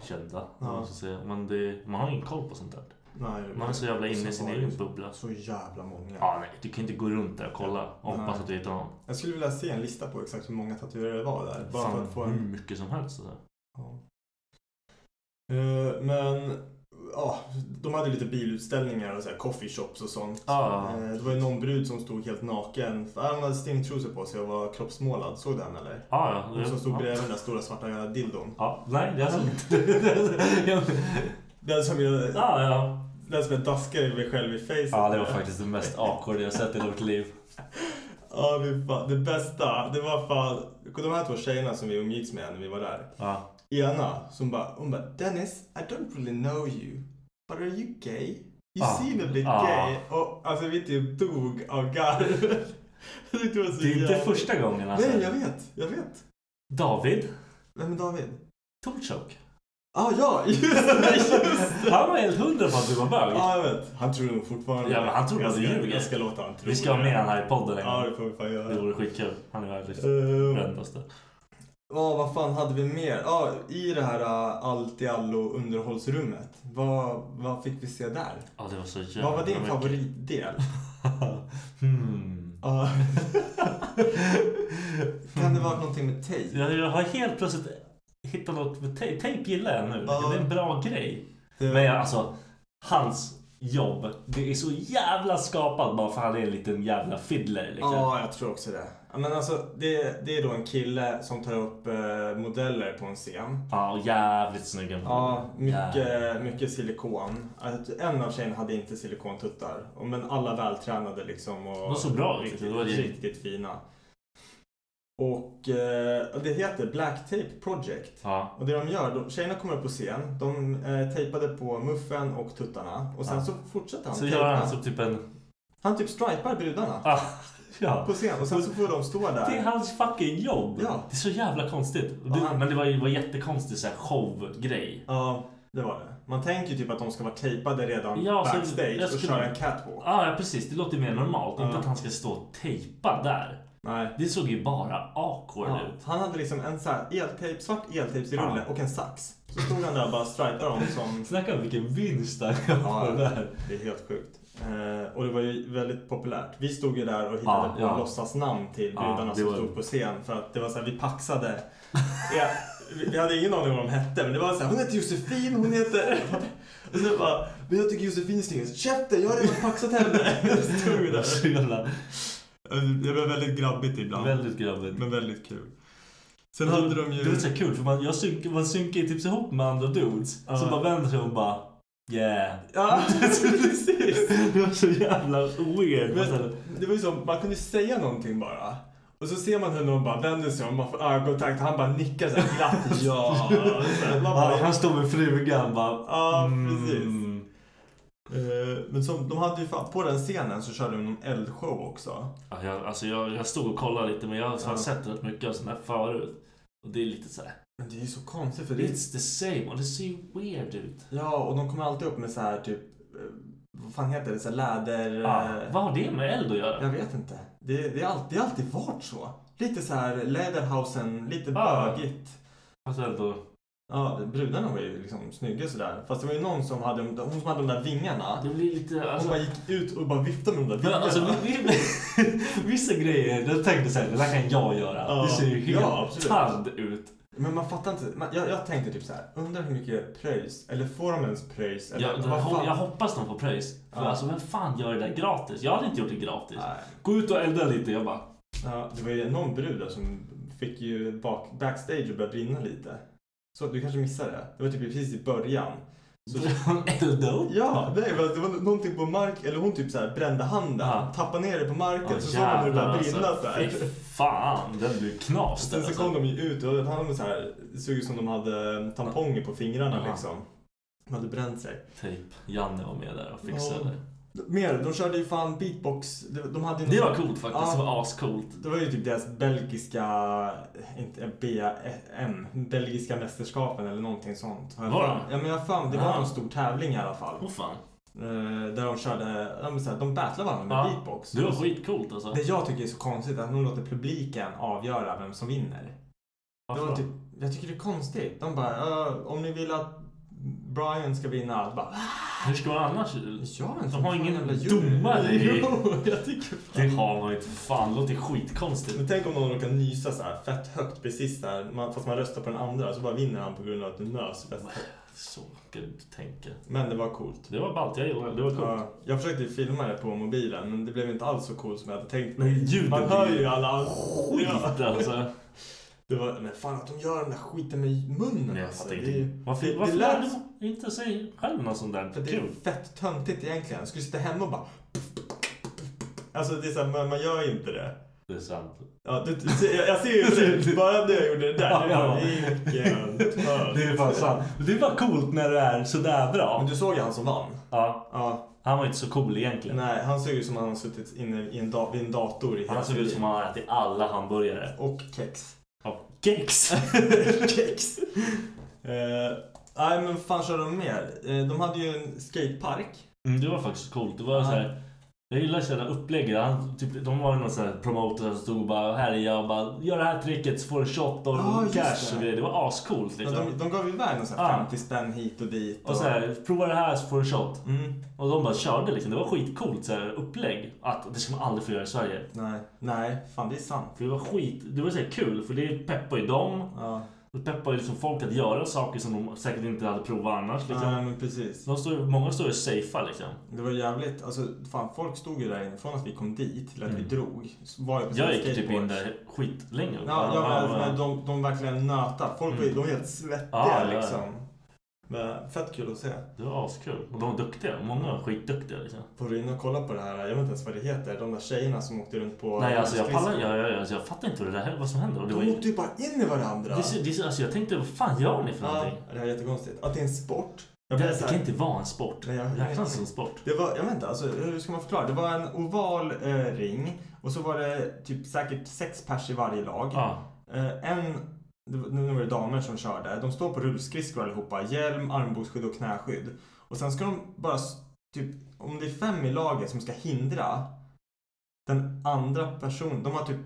A: kända. om man ska säga. Men det, man har ingen koll på sånt där.
B: Nej,
A: Man är så jävla inne i
B: så
A: sin
B: var det
A: egen
B: ju
A: bubbla.
B: Så jävla många.
A: Ja, nej, du kan inte gå runt där och kolla och
B: Nej.
A: hoppas att du hittar någon.
B: Jag skulle vilja se en lista på exakt hur många tatuerare det var där. Bara för
A: Fan,
B: att få
A: hur
B: en...
A: mycket som helst. Alltså.
B: Ja. Eh, men, ja, de hade lite bilutställningar och så här coffee shops och sånt.
A: Ja.
B: Eh, det var ju någon brud som stod helt naken. Han hade stringtrosor på sig och var kroppsmålad. Såg du den eller?
A: Ja, ja.
B: Hon som stod
A: ja.
B: bredvid den där stora svarta jävla dildon.
A: Ja, nej, det är inte.
B: Den som jag,
A: Ja, ja.
B: den som jag daskade mig själv i facet.
A: Ah. Ja, det var faktiskt det mest awkward jag sett i hela mitt liv.
B: Ja, fy fan. Det bästa, det var fan... De här två tjejerna som vi umgicks med när vi var där.
A: Ja.
B: ena som bara, hon bara Dennis, I don't really know you. But are you gay? You
A: Ah.
B: seem a bit
A: Ah.
B: gay. Och alltså vi typ dog av garv. Jag tyckte var så
A: Det är inte
B: jävla-
A: första gången alltså.
B: Nej, jag vet. Jag vet.
A: David
B: Vem är David?
A: Torchok.
B: Ah, ja, just det, just det.
A: Han var helt hundra på att du var bög.
B: Ja, jag vet. Han tror nog fortfarande
A: Ja, men han tror
B: Jag
A: att du
B: ska-
A: ljuger.
B: Jag ska låta han tro
A: Vi ska ha
B: det.
A: med han här i podden en gång.
B: Ja, det får vi fan göra.
A: Det vore skitkul. Han är liksom världens
B: Eh,
A: brändaste.
B: Ja, vad fan hade vi mer? Ja, i det här uh, allt i allo underhållsrummet. Vad, vad fick vi se där?
A: Ja, det var så jävla
B: Vad var din
A: mycket.
B: favoritdel?
A: hmm.
B: Ja. kan det vara någonting med tejp?
A: jag, jag har helt plötsligt hittat något med tejp. Tejp gillar jag nu.
B: Ja.
A: Det är en bra grej.
B: Det-
A: Men jag, alltså, hans jobb. Det är så jävla skapat bara för han är en liten jävla fiddler. Liksom.
B: Ja, jag tror också det. Ja, Men alltså, det, det är då en kille som tar upp eh, modeller på en scen.
A: Ja, och jävligt snygg.
B: Ja,
A: Jävligt.
B: mycket, mycket silikon. Att En av tjejerna hade inte silikontuttar. Och- Men alla vältränade liksom. Och
A: De såg bra ut,
B: riktigt,
A: det var det.
B: riktigt fina. Och eh, det heter Black Tape Project.
A: Ja.
B: Och det de gör, de, tjejerna kommer upp på scen, de eh, tejpade på muffen och tuttarna och sen
A: Ja.
B: så fortsätter han
A: Så gör han
B: tejpa.
A: så typ en...
B: Han typ stripar brudarna
A: Ah, ja.
B: på scen och sen så får de stå där.
A: Det är hans fucking jobb!
B: Ja.
A: Det är så jävla konstigt. Och
B: Ja,
A: Det,
B: han-
A: men det var ju var jättekonstig så här showgrej.
B: Ja, det var det. Man tänker ju typ att de ska vara tejpade redan
A: Ja, så
B: backstage
A: jag
B: och
A: skulle-
B: köra en catwalk.
A: Ja, ja, precis. Det låter mer normalt. Inte
B: Ja.
A: att han ska stå och tejpa där.
B: Nej.
A: Det såg ju bara awkward
B: Ja.
A: ut.
B: Han hade liksom en så här eltejp, svart eltejpsrulle
A: Ja.
B: och en sax. Så stod han där och bara stripade dem som...
A: Snacka om vilken vinst han gör på det där.
B: det är helt sjukt. Eh, och det var ju väldigt populärt. Vi stod ju där och hittade
A: Ja,
B: på
A: ja.
B: låtsasnamn till
A: Ja,
B: brudarna
A: det
B: som
A: var-
B: stod på scen. För att det var så här, vi paxade. ja, vi, vi hade ingen aning om vad de hette, men det var så här, hon heter Josefin, hon heter... och så bara, men jag tycker Josefin är snyggast. Käften, jag har redan paxat henne. stod vi
A: Det var
B: där.
A: så jävla...
B: Det blev väldigt grabbigt ibland.
A: Väldigt grabbigt. Mm.
B: Men väldigt kul. Sen hade de ju...
A: Det var så här kul för man, jag synk, man synkar ju typ ihop med andra dudes. Så
B: Ja.
A: bara vänder sig och bara Yeah.
B: Ja, precis.
A: Det var så jävla weird.
B: Men det var ju så, man kunde säga någonting bara. Och så ser man hur någon bara vänder sig om, man får ögonkontakt och han bara nickar så här glatt. ja. Så här, man
A: Han,
B: bara,
A: han står med frugan bara.
B: ja, precis.
A: Mm.
B: Eh, Men som, de hade ju fan, på den scenen så körde de någon eldshow också.
A: Ja, jag, alltså jag, jag stod och kollade lite men jag har alltså
B: Ja.
A: sett rätt mycket av sådana här förut. Och det är lite så här.
B: Men det är ju så konstigt för det är...
A: It's the same och det ser ju weird ut.
B: Ja, och de kommer alltid upp med så här typ, eh, vad fan heter det, så här läder...
A: Ah,
B: eh,
A: vad har det med eld att göra?
B: Jag vet inte. Det, det, är alltid, det har alltid varit så. Lite så här Läderhausen, lite
A: Ah.
B: bögigt.
A: Alltså ändå.
B: Ja, brudarna var ju liksom snygga sådär. Fast det var ju någon som hade, hon som hade de där vingarna.
A: Det blir lite...
B: Hon
A: Alltså,
B: bara gick ut och bara viftade med de där
A: Men
B: vingarna.
A: alltså, vi, vi, vissa grejer, då tänkte jag såhär, det där kan jag göra.
B: Ja.
A: Det ser ju helt
B: Ja, absolut.
A: tand ut.
B: Men man fattar inte. Man, jag, jag tänkte typ så här. undrar hur mycket pröjs, eller får de ens pröjs? Eller
A: Jag,
B: vad fan?
A: jag hoppas de får pröjs. För
B: Ja.
A: alltså, vem fan gör det där gratis? Jag hade inte gjort det gratis.
B: Nej.
A: Gå ut och elda lite, jag bara...
B: Ja, det var ju någon brud där som fick ju bak, backstage och började brinna lite. Så du kanske missade det? Det var typ precis i början. Så,
A: elda upp?
B: ja, nej, men alltså, det var någonting på mark, eller hon typ så här brände handen,
A: Ja.
B: tappade ner det på marken,
A: Ja,
B: Alltså, så såg man hur det
A: jävlar,
B: började brinna
A: alltså.
B: där.
A: Fy fan, den blir knas där
B: Sen så
A: alltså.
B: kom de ju ut och hade så här, det såg ut som de hade eh, tamponger på fingrarna
A: Ja.
B: liksom. De hade bränt sig.
A: Tejp. Typ, Janne var med där och fixade
B: Ja.
A: det.
B: Mer, de körde ju fan beatbox. De, de hade ju
A: Det
B: någon-
A: var coolt faktiskt.
B: Ja.
A: Det var ascoolt.
B: Det var ju typ deras belgiska, inte BM, belgiska mästerskapen eller någonting sånt. Har jag
A: Var
B: för-
A: det?
B: Ja men jag har fan, det var
A: Ja.
B: någon stor tävling i alla fall.
A: Åh fan.
B: Eh, där de körde, ja men så här, de battlade varandra med
A: Ja.
B: beatbox.
A: Det var skitcoolt alltså.
B: Det jag tycker är så konstigt är att de låter publiken avgöra vem som vinner. Det
A: Varför
B: var
A: då?
B: typ, jag tycker det är konstigt. De bara, "Ja, om ni vill att Brian ska vinna allt. Bara,
A: Hur ska man annars...
B: ja, men
A: De har
B: fan,
A: ingen
B: jävla jury."
A: domare i-
B: Jo, jag tycker
A: Det
B: fan.
A: har man ju inte. Fan, det låter skitkonstigt.
B: Men tänk om någon råkar nysa så här fett högt precis där, man, fast man röstar på den andra så bara vinner han på grund av att du nös fett högt.
A: Så gud tänker.
B: Men det var coolt.
A: Det var ballt, jag gillade det. Det var coolt.
B: Ja, jag försökte filma det på mobilen men det blev inte alls så coolt som jag hade tänkt mig.
A: Men ljudet
B: Man hör
A: blir
B: ju alla...
A: Skit
B: Ja.
A: alltså.
B: Det var, men fan att de gör den där skiten med munnen
A: Nej, jag
B: alltså.
A: fattar
B: Det är
A: ingenting.
B: ju-
A: Varför,
B: det- det
A: varför
B: lät-
A: lär du inte sig själv något sånt där
B: För det är
A: kul?
B: fett töntigt egentligen. Jag skulle sitta hemma och bara... Alltså det är så här, man, man gör ju inte det.
A: Det är sant.
B: Ja, du, du ser- jag, jag ser ju för dig, bara när jag gjorde det där.
A: Ja,
B: Det var
A: ja.
B: vilken tönt.
A: Det är fan sant. Det är bara coolt när det är sådär
B: Men
A: bra.
B: du såg ju han som vann.
A: Ja,
B: Ja.
A: han var inte så cool egentligen.
B: Nej, han såg ju som han har suttit inne i en da- vid en dator i hela
A: Han såg
B: tiden.
A: ut som att han hade ätit alla hamburgare.
B: Och kex.
A: Ja, kex!
B: kex. Eh, nej, men vad fan körde de mer? Eh, de hade ju en skatepark.
A: Mm, det var faktiskt coolt. Det var
B: Ja.
A: så här, jag gillar sådana upplägg. Han, typ, de var ju någon sån här promoter som stod och bara härjade och bara gör det här tricket så får du shot och
B: Ja, Ah, just
A: cash
B: det.
A: och grejer. Det var ascoolt
B: Men
A: liksom.
B: de, de gav ju iväg någon sån här
A: Ja.
B: 50 spänn hit och dit.
A: Och så här, prova det här så får du shot.
B: Mm.
A: Och de bara körde liksom. Det var skitcoolt så här, upplägg. Att det ska man aldrig få göra i Sverige.
B: Nej, nej, fan det är sant.
A: För det var skit, det var så här kul för det peppar ju dem.
B: Ja,
A: Det peppar ju liksom folk att göra saker som de säkert inte hade provat annars liksom.
B: nej, men precis.
A: De står, många står ju safea liksom.
B: Det var jävligt, alltså fan folk stod ju där inne från att vi kom dit till att vi drog. så Var jag, på
A: Mm. Jag gick typ
B: skateboard.
A: in där skitlänge.
B: Ja, jag men, men de, de verkligen nöta. Folk var ju- de var helt svettiga
A: Ja, ja, ja.
B: liksom. Men fett kul att se.
A: Det var askul. Och de var duktiga. Många var skitduktiga liksom.
B: Var du inne och kollade på det här, jag vet inte ens vad det heter, de där tjejerna som åkte runt på...
A: Nej alltså jag pallar
B: skridskor.
A: jag, jag, jag, jag fattar inte vad det där vad som händer. Och det var,
B: De
A: ju-
B: åkte ju bara in i varandra.
A: det, ser- det, ser- alltså, jag tänkte vad fan gör ni för
B: ja,
A: någonting?
B: det här är jättekonstigt. Att det är en sport. Jag blev
A: Det,
B: så
A: det
B: här-
A: kan inte vara en sport.
B: Nej, jag-
A: Räknas som sport?
B: Det var, jag vet inte, alltså, hur ska man förklara? Det var en oval eh, ring och så var det typ säkert sex pers i varje lag.
A: Ja.
B: Eh, en, det var- nu var det damer som körde, de står på rullskridskor allihopa, hjälm, armbågsskydd och knäskydd. Och sen ska de bara, s- typ, om det är fem i laget som ska hindra den andra personen, de har typ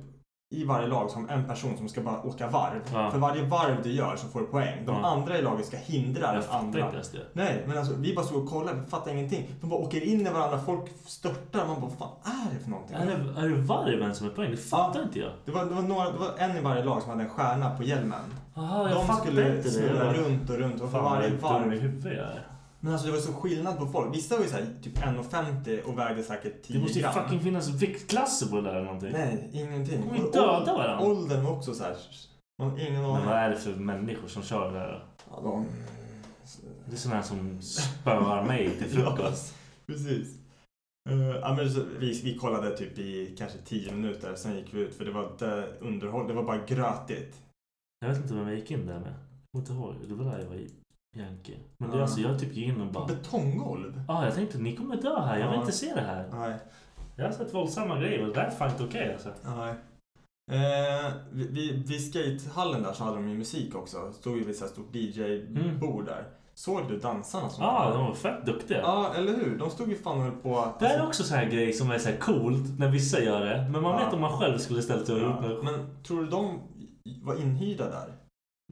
B: i varje lag som en person som ska bara åka varv.
A: Ja.
B: För varje varv du gör så får du poäng. De
A: Ja.
B: andra i laget ska hindra
A: Jag
B: den
A: fattar
B: andra.
A: inte ens det.
B: Nej, men alltså vi bara stod och kollade, vi fattade ingenting. De bara åker in i varandra, folk störtar. Man bara, vad fan är det för någonting?
A: Är det, är det varven som är poängen? Det fattar
B: Ja.
A: inte jag.
B: Det var, det, var några, det var en i varje lag som hade en stjärna på hjälmen.
A: Aha, jag
B: De
A: fattar
B: skulle
A: inte det. Jag
B: snurra
A: bara-
B: runt och runt och för
A: Fan vad
B: varje
A: jag är dum i
B: varv.
A: huvudet jag är.
B: Men alltså det var så skillnad på folk. Vissa var ju såhär typ 1,50 och vägde säkert 10
A: Det måste ju
B: gram.
A: fucking finnas viktklasser på det där eller någonting.
B: Nej, ingenting.
A: De är
B: Och
A: döda
B: ål-
A: varandra.
B: Åldern var också såhär Man har ingen
A: Men vad
B: aning.
A: är det för människor som kör det här?
B: Ja, de...
A: Det är sådana här som spöar mig till frukost.
B: Precis. Eh, ja, men så, vi, vi kollade typ i kanske 10 minuter, sen gick vi ut för det var inte underhåll, det var bara grötigt.
A: Jag vet inte vem jag gick in där med. Jag kommer inte ihåg. Det var där jag var i Yankee. Men det är
B: Ja.
A: alltså, jag typ gick in och bara...
B: Betonggolv?
A: Ja, ah, jag tänkte ni kommer dö här. Jag vill
B: Ja.
A: inte se det här.
B: Nej.
A: Jag har sett våldsamma grejer och det där är fan inte okej alltså.
B: Nej. Eh, vi, vi, vid skatehallen där så hade de ju musik också. Stod ju vid ett stort DJ-bord där. Såg du dansarna som
A: Mm. Ja, ah,
B: var
A: de
B: där?
A: var fett duktiga.
B: Ja, eller hur? De stod ju fan och höll på...
A: Det här är också så här grej som är så här coolt när vissa gör det. Men man
B: Ja.
A: vet om man själv skulle ställt sig och gjort
B: ja.
A: det.
B: Men tror du de var inhyrda där?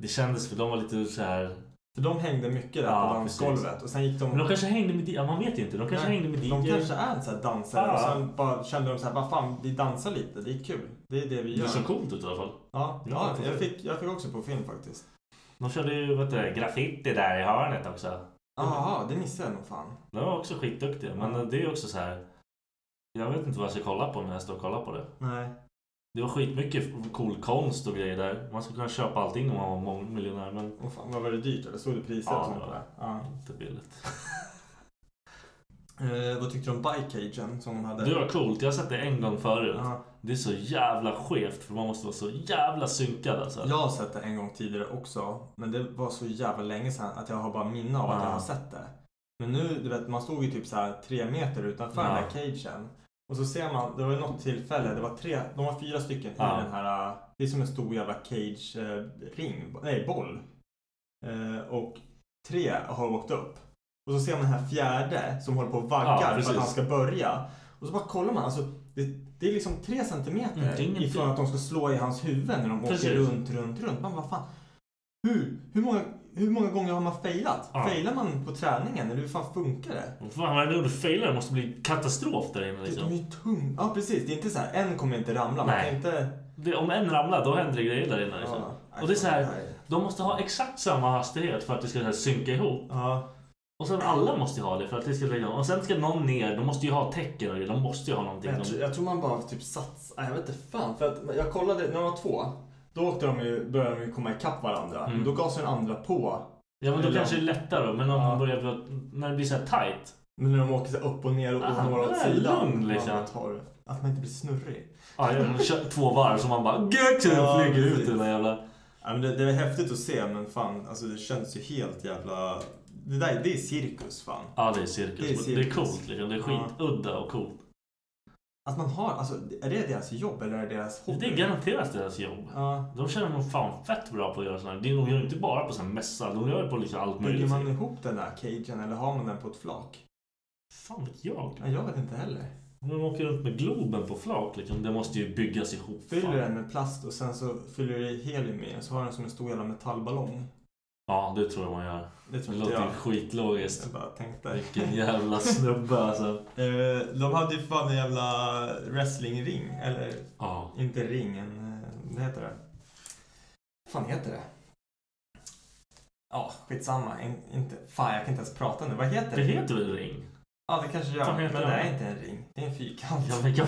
A: Det kändes för de var lite så här...
B: För de hängde mycket där
A: Ja,
B: på dansgolvet
A: precis.
B: och sen gick de...
A: Men de kanske hängde med... di- Ja, man vet ju inte. De kanske hängde med
B: De
A: DJ.
B: kanske är så här dansare och
A: Ja.
B: sen bara kände de så här, vad fan, vi dansar lite, det är kul. Det är det vi gör.
A: Det såg coolt ut i alla fall.
B: Ja, ja
A: Ja,
B: jag,
A: precis.
B: fick, jag fick också på film faktiskt.
A: De körde ju vet du, graffiti där i hörnet också.
B: Jaha, det missade jag nog fan.
A: De var också skitduktiga. Men det är också så här. Jag vet inte vad jag ska kolla på när jag står och kollar på det.
B: Nej.
A: Det var skitmycket cool konst och grejer där. Man skulle kunna köpa allting om man var mångmiljonär men
B: Och fan, vad var det dyrt eller? Såg du priser
A: Ja,
B: och sånt
A: det var
B: där? Ja.
A: inte billigt.
B: Eh, vad tyckte du om bikecagen som de hade?
A: Det var coolt. Jag har sett det en gång förut.
B: Ja.
A: Det är så jävla skevt för man måste vara så jävla synkad alltså.
B: Jag har sett det en gång tidigare också, men det var så jävla länge sedan att jag har bara minne av att jag
A: Ja.
B: har sett det. Men nu, du vet, man stod ju typ så här tre meter utanför
A: Ja.
B: den där cagen. Och så ser man, det var ju något tillfälle, det var tre, de var fyra stycken
A: Ja.
B: i den här, eh, det är som en stor jävla cage-ring, nej boll. Eh, och tre har åkt upp. Och så ser man den här fjärde som håller på och
A: Ja,
B: vaggar för
A: precis.
B: att han ska börja. Och så bara kollar man, alltså det, det är liksom tre centimeter
A: Mm, det är ingen
B: ifrån
A: tid.
B: att de ska slå i hans huvud när de åker
A: Precis.
B: runt, runt, runt. Man bara, fan. Hur, hur, många, hur många gånger har man failat?
A: Ja.
B: Failar man på träningen eller hur fan funkar det?
A: Vad Fan vad är det du failar? Det måste bli katastrof där inne
B: De är
A: liksom.
B: ju tunga. Ja precis, det är inte så här en kommer inte ramla. Man
A: Nej.
B: kan inte...
A: Det, om en ramlar då händer det grejer där inne liksom.
B: Ja.
A: Och det är så här,
B: Nej.
A: de måste ha exakt samma hastighet för att det ska så här, synka ihop.
B: Ja,
A: Och sen alla måste ju ha det för att det ska lägga Och sen ska någon ner, de måste ju ha tecken och det, de måste ju ha någonting.
B: men jag, tror,
A: De...
B: jag tror man bara typ satsar. Nej, Jag vet inte fan. För att jag kollade, när de var två, då åkte de ju, började de ju komma ikapp varandra.
A: Mm.
B: Men Då gasade den andra på.
A: Ja men då kanske det är lättare då, men om
B: Ja.
A: de börjar, när det blir så här tight.
B: Men när de åker så här upp och ner och
A: Ah,
B: några åt
A: det är
B: sidan.
A: lugn,
B: man
A: liksom.
B: bara tar- Att man inte blir snurrig.
A: Ja, jag kör två varv så man bara gök, så
B: Ja,
A: flyger ut
B: precis.
A: den där jävla...
B: Ja, men det, det är häftigt att se men fan, alltså det känns ju helt jävla... Det där det är cirkus fan.
A: Ja det är cirkus.
B: Det är
A: Det är,
B: cirkus.
A: coolt liksom. Det är
B: Ja.
A: skitudda och coolt.
B: Att man har, alltså är det deras jobb eller är det deras hobby?
A: Det är garanterat deras jobb.
B: Ja.
A: De känner man fan fett bra på att göra sådana här. De gör inte bara på sån här mässa, de gör ju på liksom allt
B: Bygger
A: möjligt.
B: man ihop den där cagen eller har man den på ett flak?
A: Fan vet jag.
B: Ja, jag vet inte heller.
A: Om de åker runt med Globen på flak liksom, det måste ju byggas ihop.
B: Fyller
A: fan.
B: den med plast och sen så fyller du i helium i den så har den som en stor jävla metallballong.
A: Ja det tror jag man gör.
B: Det
A: Det
B: tror inte
A: låter ju
B: jag.
A: skitlogiskt.
B: Jag bara tänkte.
A: Vilken jävla snubbe alltså.
B: Eh, de hade ju fan en jävla wrestlingring, eller
A: Ja.
B: inte ring, en, eh, vad heter det? Vad fan heter det? Ja, skitsamma. En, inte, fan, jag kan inte ens prata nu. Vad heter
A: Det
B: det?
A: heter väl ring?
B: Ja, det kanske gör.
A: Fan
B: Men
A: heter
B: det
A: det?
B: är inte en ring. Det är en fyrkant.
A: Ja, men jag-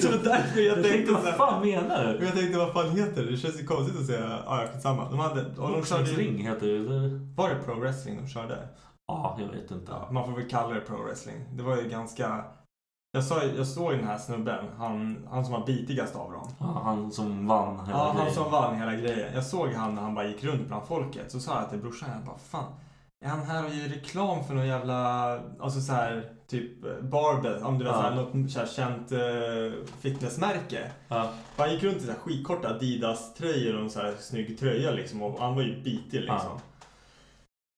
B: så det var därför jag, tänkte så
A: vad
B: här.
A: fan menar
B: Men
A: du?
B: jag tänkte, vad fan heter det? Det känns ju konstigt att säga, ja, ja, skitsamma. De hade, och de körde ju-
A: Boxningsring heter det eller?
B: Var det pro wrestling de körde?
A: Ja, jag vet inte.
B: Ja, man får väl kalla det pro wrestling. Det var ju ganska... Jag, sa, ju- jag såg ju den här snubben, han, han som var bitigast av dem.
A: Ja, han som vann hela
B: Ja, han
A: grejen.
B: som vann hela grejen. Jag såg han när han bara gick runt bland folket. Så sa jag till brorsan, jag bara fan. Är han här och gör reklam för någon jävla, alltså så här typ eh, Barbell, om du vet
A: Ja.
B: så här, något så här känt eh, fitnessmärke.
A: Ja.
B: För Han gick runt i så här skitkorta Adidas-tröjor och en så här snygg tröja liksom och han var ju bitig liksom.
A: Ja.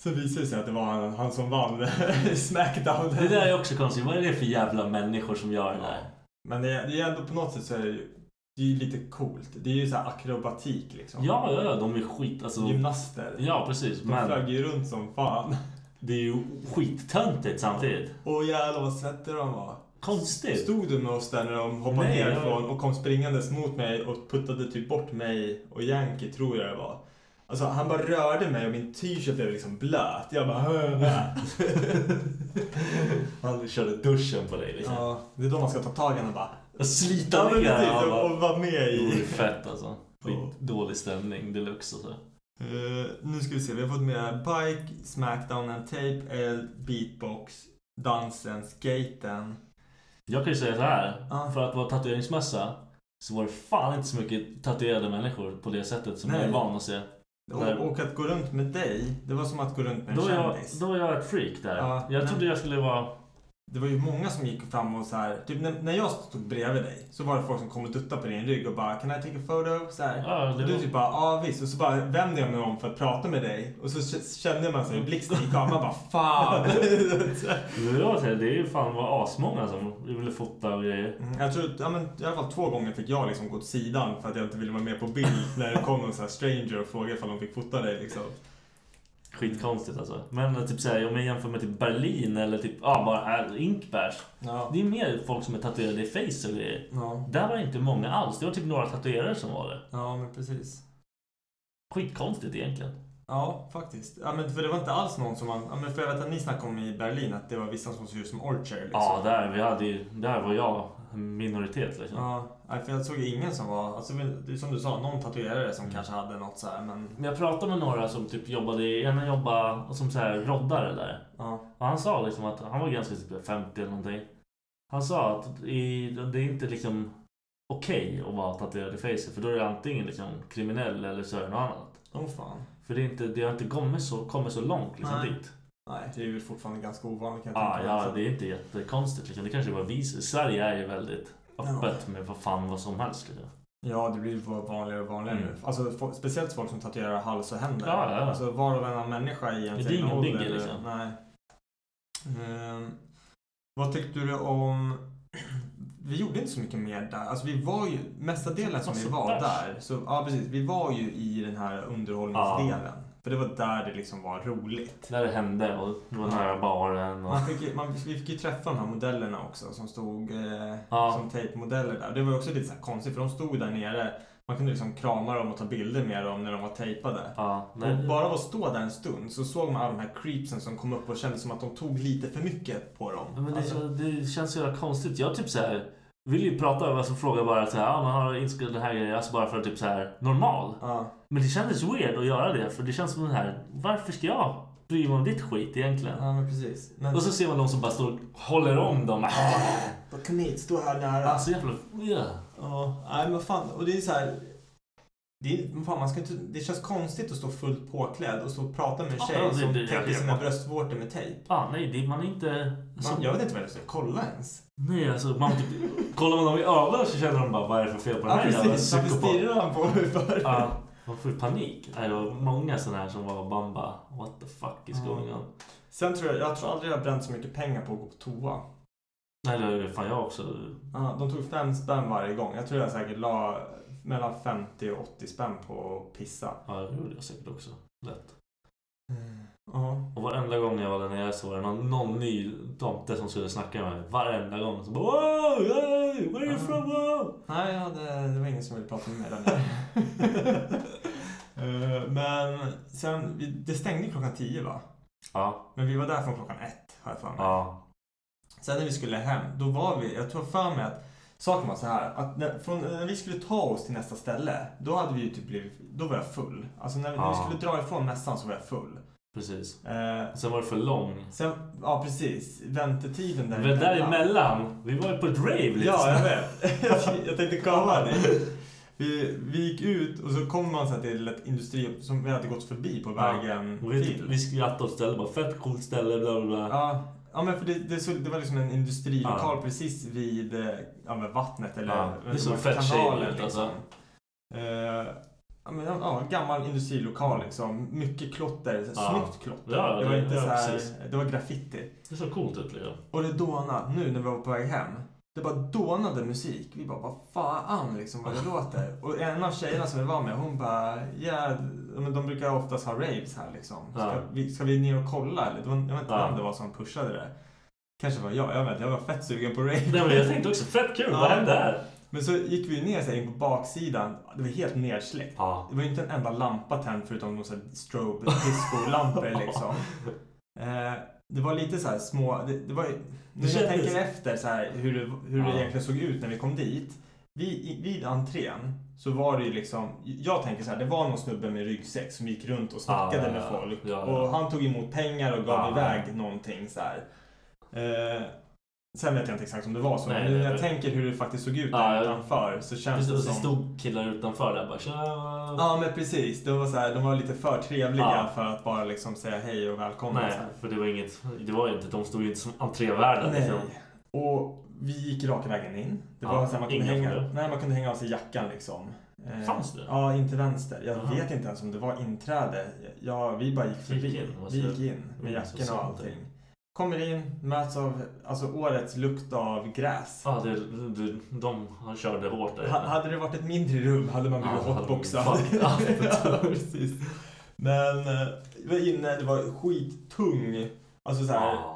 B: Så visade det sig att det var han, han som vann Smackdown.
A: Det där är också konstigt. Vad är det för jävla människor som gör det där?
B: Men det är, det är ändå på något sätt så är det ju, det är ju lite coolt. Det är ju så här akrobatik liksom.
A: Ja, ja, ja. De är skit... Alltså...
B: Gymnaster.
A: Ja, precis.
B: De
A: Men
B: flög ju runt som fan.
A: det är ju skittöntigt samtidigt.
B: Åh jävlar vad svettiga de var.
A: Konstigt.
B: Stod du med oss där när de hoppade
A: Nej, jag-
B: nerifrån och kom springandes mot mig och puttade typ bort mig och Yankee tror jag det var. Alltså han bara rörde mig och min t-shirt blev liksom blöt. Jag bara... "Hö, hö."
A: Han körde duschen på dig liksom.
B: ja, det är då man ska ta tag i honom och bara...
A: Slita
B: Ja, men
A: ner
B: precis,
A: han
B: och,
A: bara.
B: och vara med
A: Det vore
B: i...
A: fett alltså. Skitdålig stämning deluxe alltså. och så.
B: Eh, nu ska vi se, vi har fått med Bike, Smackdown and Tape, El, Beatbox, Dansen, Skaten.
A: Jag kan ju säga så här.
B: Ja.
A: För att vara tatueringsmössa så var det fan inte så mycket tatuerade människor på det sättet som
B: Nej.
A: jag är van att se. Nej.
B: Och, och att gå runt med dig, det var som att gå runt med en
A: Då är, jag,
B: kändis.
A: då är jag ett freak där.
B: Ja,
A: jag
B: men-
A: trodde jag skulle vara...
B: Det var ju många som gick fram och så här, typ när, när jag stod bredvid dig så var det folk som kom och duttade på din rygg och bara Can I take a photo? Så här.
A: Ja, det
B: och du
A: var-
B: typ bara ja visst och så bara vände jag mig om för att prata med dig och så k- kände man sig blixten gick av man bara fan.
A: Det var så här, Det är ju fan var asmånga som ville fota och grejer.
B: Mm, jag tror ja, men, i alla fall två gånger fick jag liksom gå åt sidan för att jag inte ville vara med på bild när det kom någon så här stranger och frågade ifall de fick fota dig liksom.
A: Skitkonstigt alltså. Men typ så här, om jag jämför med typ Berlin eller typ ja, bara här, Inkbergs.
B: Ja.
A: Det är mer folk som är tatuerade i face och grejer.
B: Ja,
A: Där var det inte många alls. Det var typ några tatuerare som var det.
B: ja men precis.
A: Skitkonstigt egentligen.
B: Ja, faktiskt. Ja, men för det var inte alls någon som man... Ja, men för jag vet att ni snackade om i Berlin att det var vissa som såg ut som Orcher liksom.
A: Ja, där, vi hade ju, där var jag en minoritet liksom.
B: Ja, nej, för jag såg ingen som var... Alltså, men det är som du sa, någon tatuerare
A: Mm.
B: som kanske hade något så här, men...
A: Men jag pratade med några som typ jobbade, i- en jobbade som så här roddare där.
B: Ja,
A: Och han sa liksom att han var ganska typ 50 eller någonting. Han sa att i, det är inte liksom okej att vara tatuerad i facet för då är det antingen liksom kriminell eller så är det något annat.
B: åh fan.
A: För det, är inte, det har inte kommit så, kommit så långt liksom
B: Nej.
A: dit.
B: Nej, det är ju fortfarande ganska ovanligt kan jag
A: Ah,
B: tänka mig.
A: ja, det är inte jättekonstigt liksom. Det kanske bara vi, Sverige är ju väldigt öppet med vad fan vad som helst liksom.
B: Ja, det blir ju vanligare och vanligare
A: Mm.
B: nu. Alltså, fo- speciellt folk som tatuerar hals och händer.
A: Ja, ja, ja.
B: Alltså, var och varannan människa i
A: Det
B: en
A: är
B: sin
A: ingen
B: ålder,
A: bigger,
B: eller-
A: liksom.
B: Nej. Ehm, vad tyckte du om... Vi gjorde inte så mycket mer där. Alltså vi var ju, mesta
A: Typ
B: delen som vi
A: Massa
B: var
A: bärs.
B: där, så, ja precis, vi var ju i den här underhållningsdelen. För det var där det liksom var roligt.
A: När det hände och det var nära baren och...
B: Man fick, ju- man, vi fick ju träffa de här modellerna också som stod eh,
A: Ja.
B: som tejpmodeller där. Det var ju också lite så här konstigt för de stod där nere. Man kunde liksom krama dem och ta bilder med dem när de var tejpade.
A: Ja,
B: Och
A: nej,
B: bara av att stå där en stund så såg man alla de här creepsen som kom upp och kände som att de tog lite för mycket på dem.
A: Ja, Men det,
B: Alltså,
A: det känns så jävla konstigt. Jag typ så här, vill ju prata med alltså, frågar bara så här, ja, man har inskrivit den här grejen, alltså bara för att typ så här normal.
B: ja.
A: Men det kändes weird att göra det för det känns som den här, varför ska jag bry mig om ditt skit egentligen?
B: ja, men precis. Men,
A: Och så ser man någon som bara står och håller om dem.
B: Bara, Kom hit, stå här nära.
A: Alltså jävla... Yeah.
B: Ja, nej men vad fan. Och det är så här. Det, är, men fan, man ska inte, det känns konstigt att stå fullt påklädd och stå och prata med en
A: Ja,
B: tjej
A: det-
B: som
A: det-
B: täcker
A: jag-
B: sina
A: jag-
B: bröstvårtor med tejp.
A: Ah, nej, det, man är inte... Alltså,
B: Man, jag vet inte vad jag ska kolla ens.
A: Nej, alltså man typ, kollar man dem i ögonen så känner de bara, vad är det för fel på den
B: Ja,
A: här jävla
B: precis. Varför
A: psykopat?
B: stirrar han på mig för?
A: Ja, man får ju panik. Nej, Det var många sådana här som var bamba, what the fuck is
B: Ja.
A: going on?
B: Sen tror jag, jag tror aldrig jag har bränt så mycket pengar på att gå på toa.
A: Nej, det var fan jag också.
B: Ja, de tog fem spänn varje gång. Jag tror jag säkert la mellan 50 och 80 spänn på att pissa.
A: Ja, det gjorde jag säkert också. Lätt. Mm.
B: Ja.
A: Och varenda gång jag var där nere så var det någon, någon ny tomte som skulle snacka med mig. Varenda gång. Så bara wow, hey, where are you from? Wow?
B: Nej, jag hade, det var ingen som ville prata med mig där nere. Eh, Men sen, vi- det stängde klockan 10 va?
A: Ja,
B: Men vi var där från klockan ett, har jag för mig.
A: ja.
B: Sen när vi skulle hem, då var vi, jag tror för mig att saken var så här, att när, från, när vi skulle ta oss till nästa ställe, då hade vi ju typ blivit, då var jag full. Alltså när, vi- när vi
A: Ja.
B: skulle dra ifrån mässan så var jag full.
A: Precis.
B: Eh,
A: Sen var det för lång.
B: sen, ja precis, väntetiden där
A: Men däremellan, vi var ju på ett rave lite
B: Ja, jag
A: snabbt.
B: vet. Jag- jag tänkte komma dit. Vi, vi gick ut och så kom man så här till ett industri som vi hade gått förbi på vägen
A: Och vi, typ,
B: till.
A: vi skrattade åt stället bara, fett coolt ställe, bla bla bla.
B: Ja, ja men för det, det, så, det var liksom en industrilokal
A: Ja.
B: precis vid eh, ja, men vattnet eller
A: Ja, det är så
B: var
A: fett
B: kanalen, liksom.
A: shady ut, alltså.
B: Eh, ja, men, ja, gammal industrilokal liksom. Mycket klotter. Så här,
A: Ja.
B: Snyggt klotter.
A: Ja,
B: det var
A: det-
B: inte
A: ja,
B: så här,
A: precis.
B: det var graffiti.
A: Det såg coolt ut liksom.
B: Och det dånade nu när vi var på väg hem. Det bara dånade musik. Vi bara, vad fan liksom vad det låter. Och en av tjejerna som vi var med, hon bara, ja, men de brukar oftast ha raves här liksom. Ska,
A: Ja.
B: vi, ska vi ner och kolla eller? Det var, jag vet inte
A: Ja.
B: vem det var som pushade det. Kanske var jag, jag vet inte. Jag var fett sugen på rave.
A: Nej men jag tänkte också, fett kul,
B: Ja.
A: vad hände här?
B: Men så gick vi ju ner så här, in på baksidan. Det var helt nersläckt.
A: Ja.
B: Det var ju inte en enda lampa tänd förutom någon sån här strobe disco-lampor liksom. Eh, det var lite så här små, det, det var ju, nu när jag
A: kändes-
B: tänker efter så här hur, det, hur det
A: Ja.
B: egentligen såg ut när vi kom dit. vid, i- vid entrén så var det ju liksom, jag tänker så här, det var någon snubbe med ryggsäck som gick runt och snackade
A: Ah, ja,
B: med
A: ja.
B: folk.
A: Ja, ja.
B: Och han tog emot pengar och gav
A: Ah,
B: iväg någonting så här. Eh, sen vet jag inte exakt om det var så,
A: Nej,
B: men
A: nej,
B: nu när jag
A: nej.
B: tänker hur det faktiskt såg ut
A: Ah,
B: där
A: ja.
B: utanför så känns
A: Precis,
B: det
A: och så
B: som...
A: stod killar utanför där bara tja.
B: Ja men precis, det var så här, de var lite för trevliga
A: Ja.
B: för att bara liksom säga hej och välkomna.
A: Nej,
B: Så här.
A: för det var inget, det var ju inte, de stod ju inte som entrévärdar
B: Nej.
A: liksom.
B: Och vi gick raka vägen in. Det
A: Ja,
B: var så här, man, kunde
A: inga
B: hänga,
A: problem.
B: nej, man kunde hänga av sig jackan liksom. Eh,
A: Fanns det?
B: Ja, in till vänster. Jag
A: Aha.
B: vet inte ens om det var inträde. Ja, vi bara gick
A: Gick
B: förbi.
A: in, vad
B: vi
A: så-
B: gick in med
A: Mm,
B: jackorna
A: så
B: och
A: sant.
B: allting. Kommer in, möts av alltså, årets lukt av gräs.
A: Ja, det, de, de, han körde hårt där.
B: Ha, hade det varit ett mindre rum hade man blivit
A: Ja,
B: hotboxad.
A: hade man blivit fucked up.
B: ja, precis. Men eh, vi var inne, det var skittung, alltså så här,
A: Ah,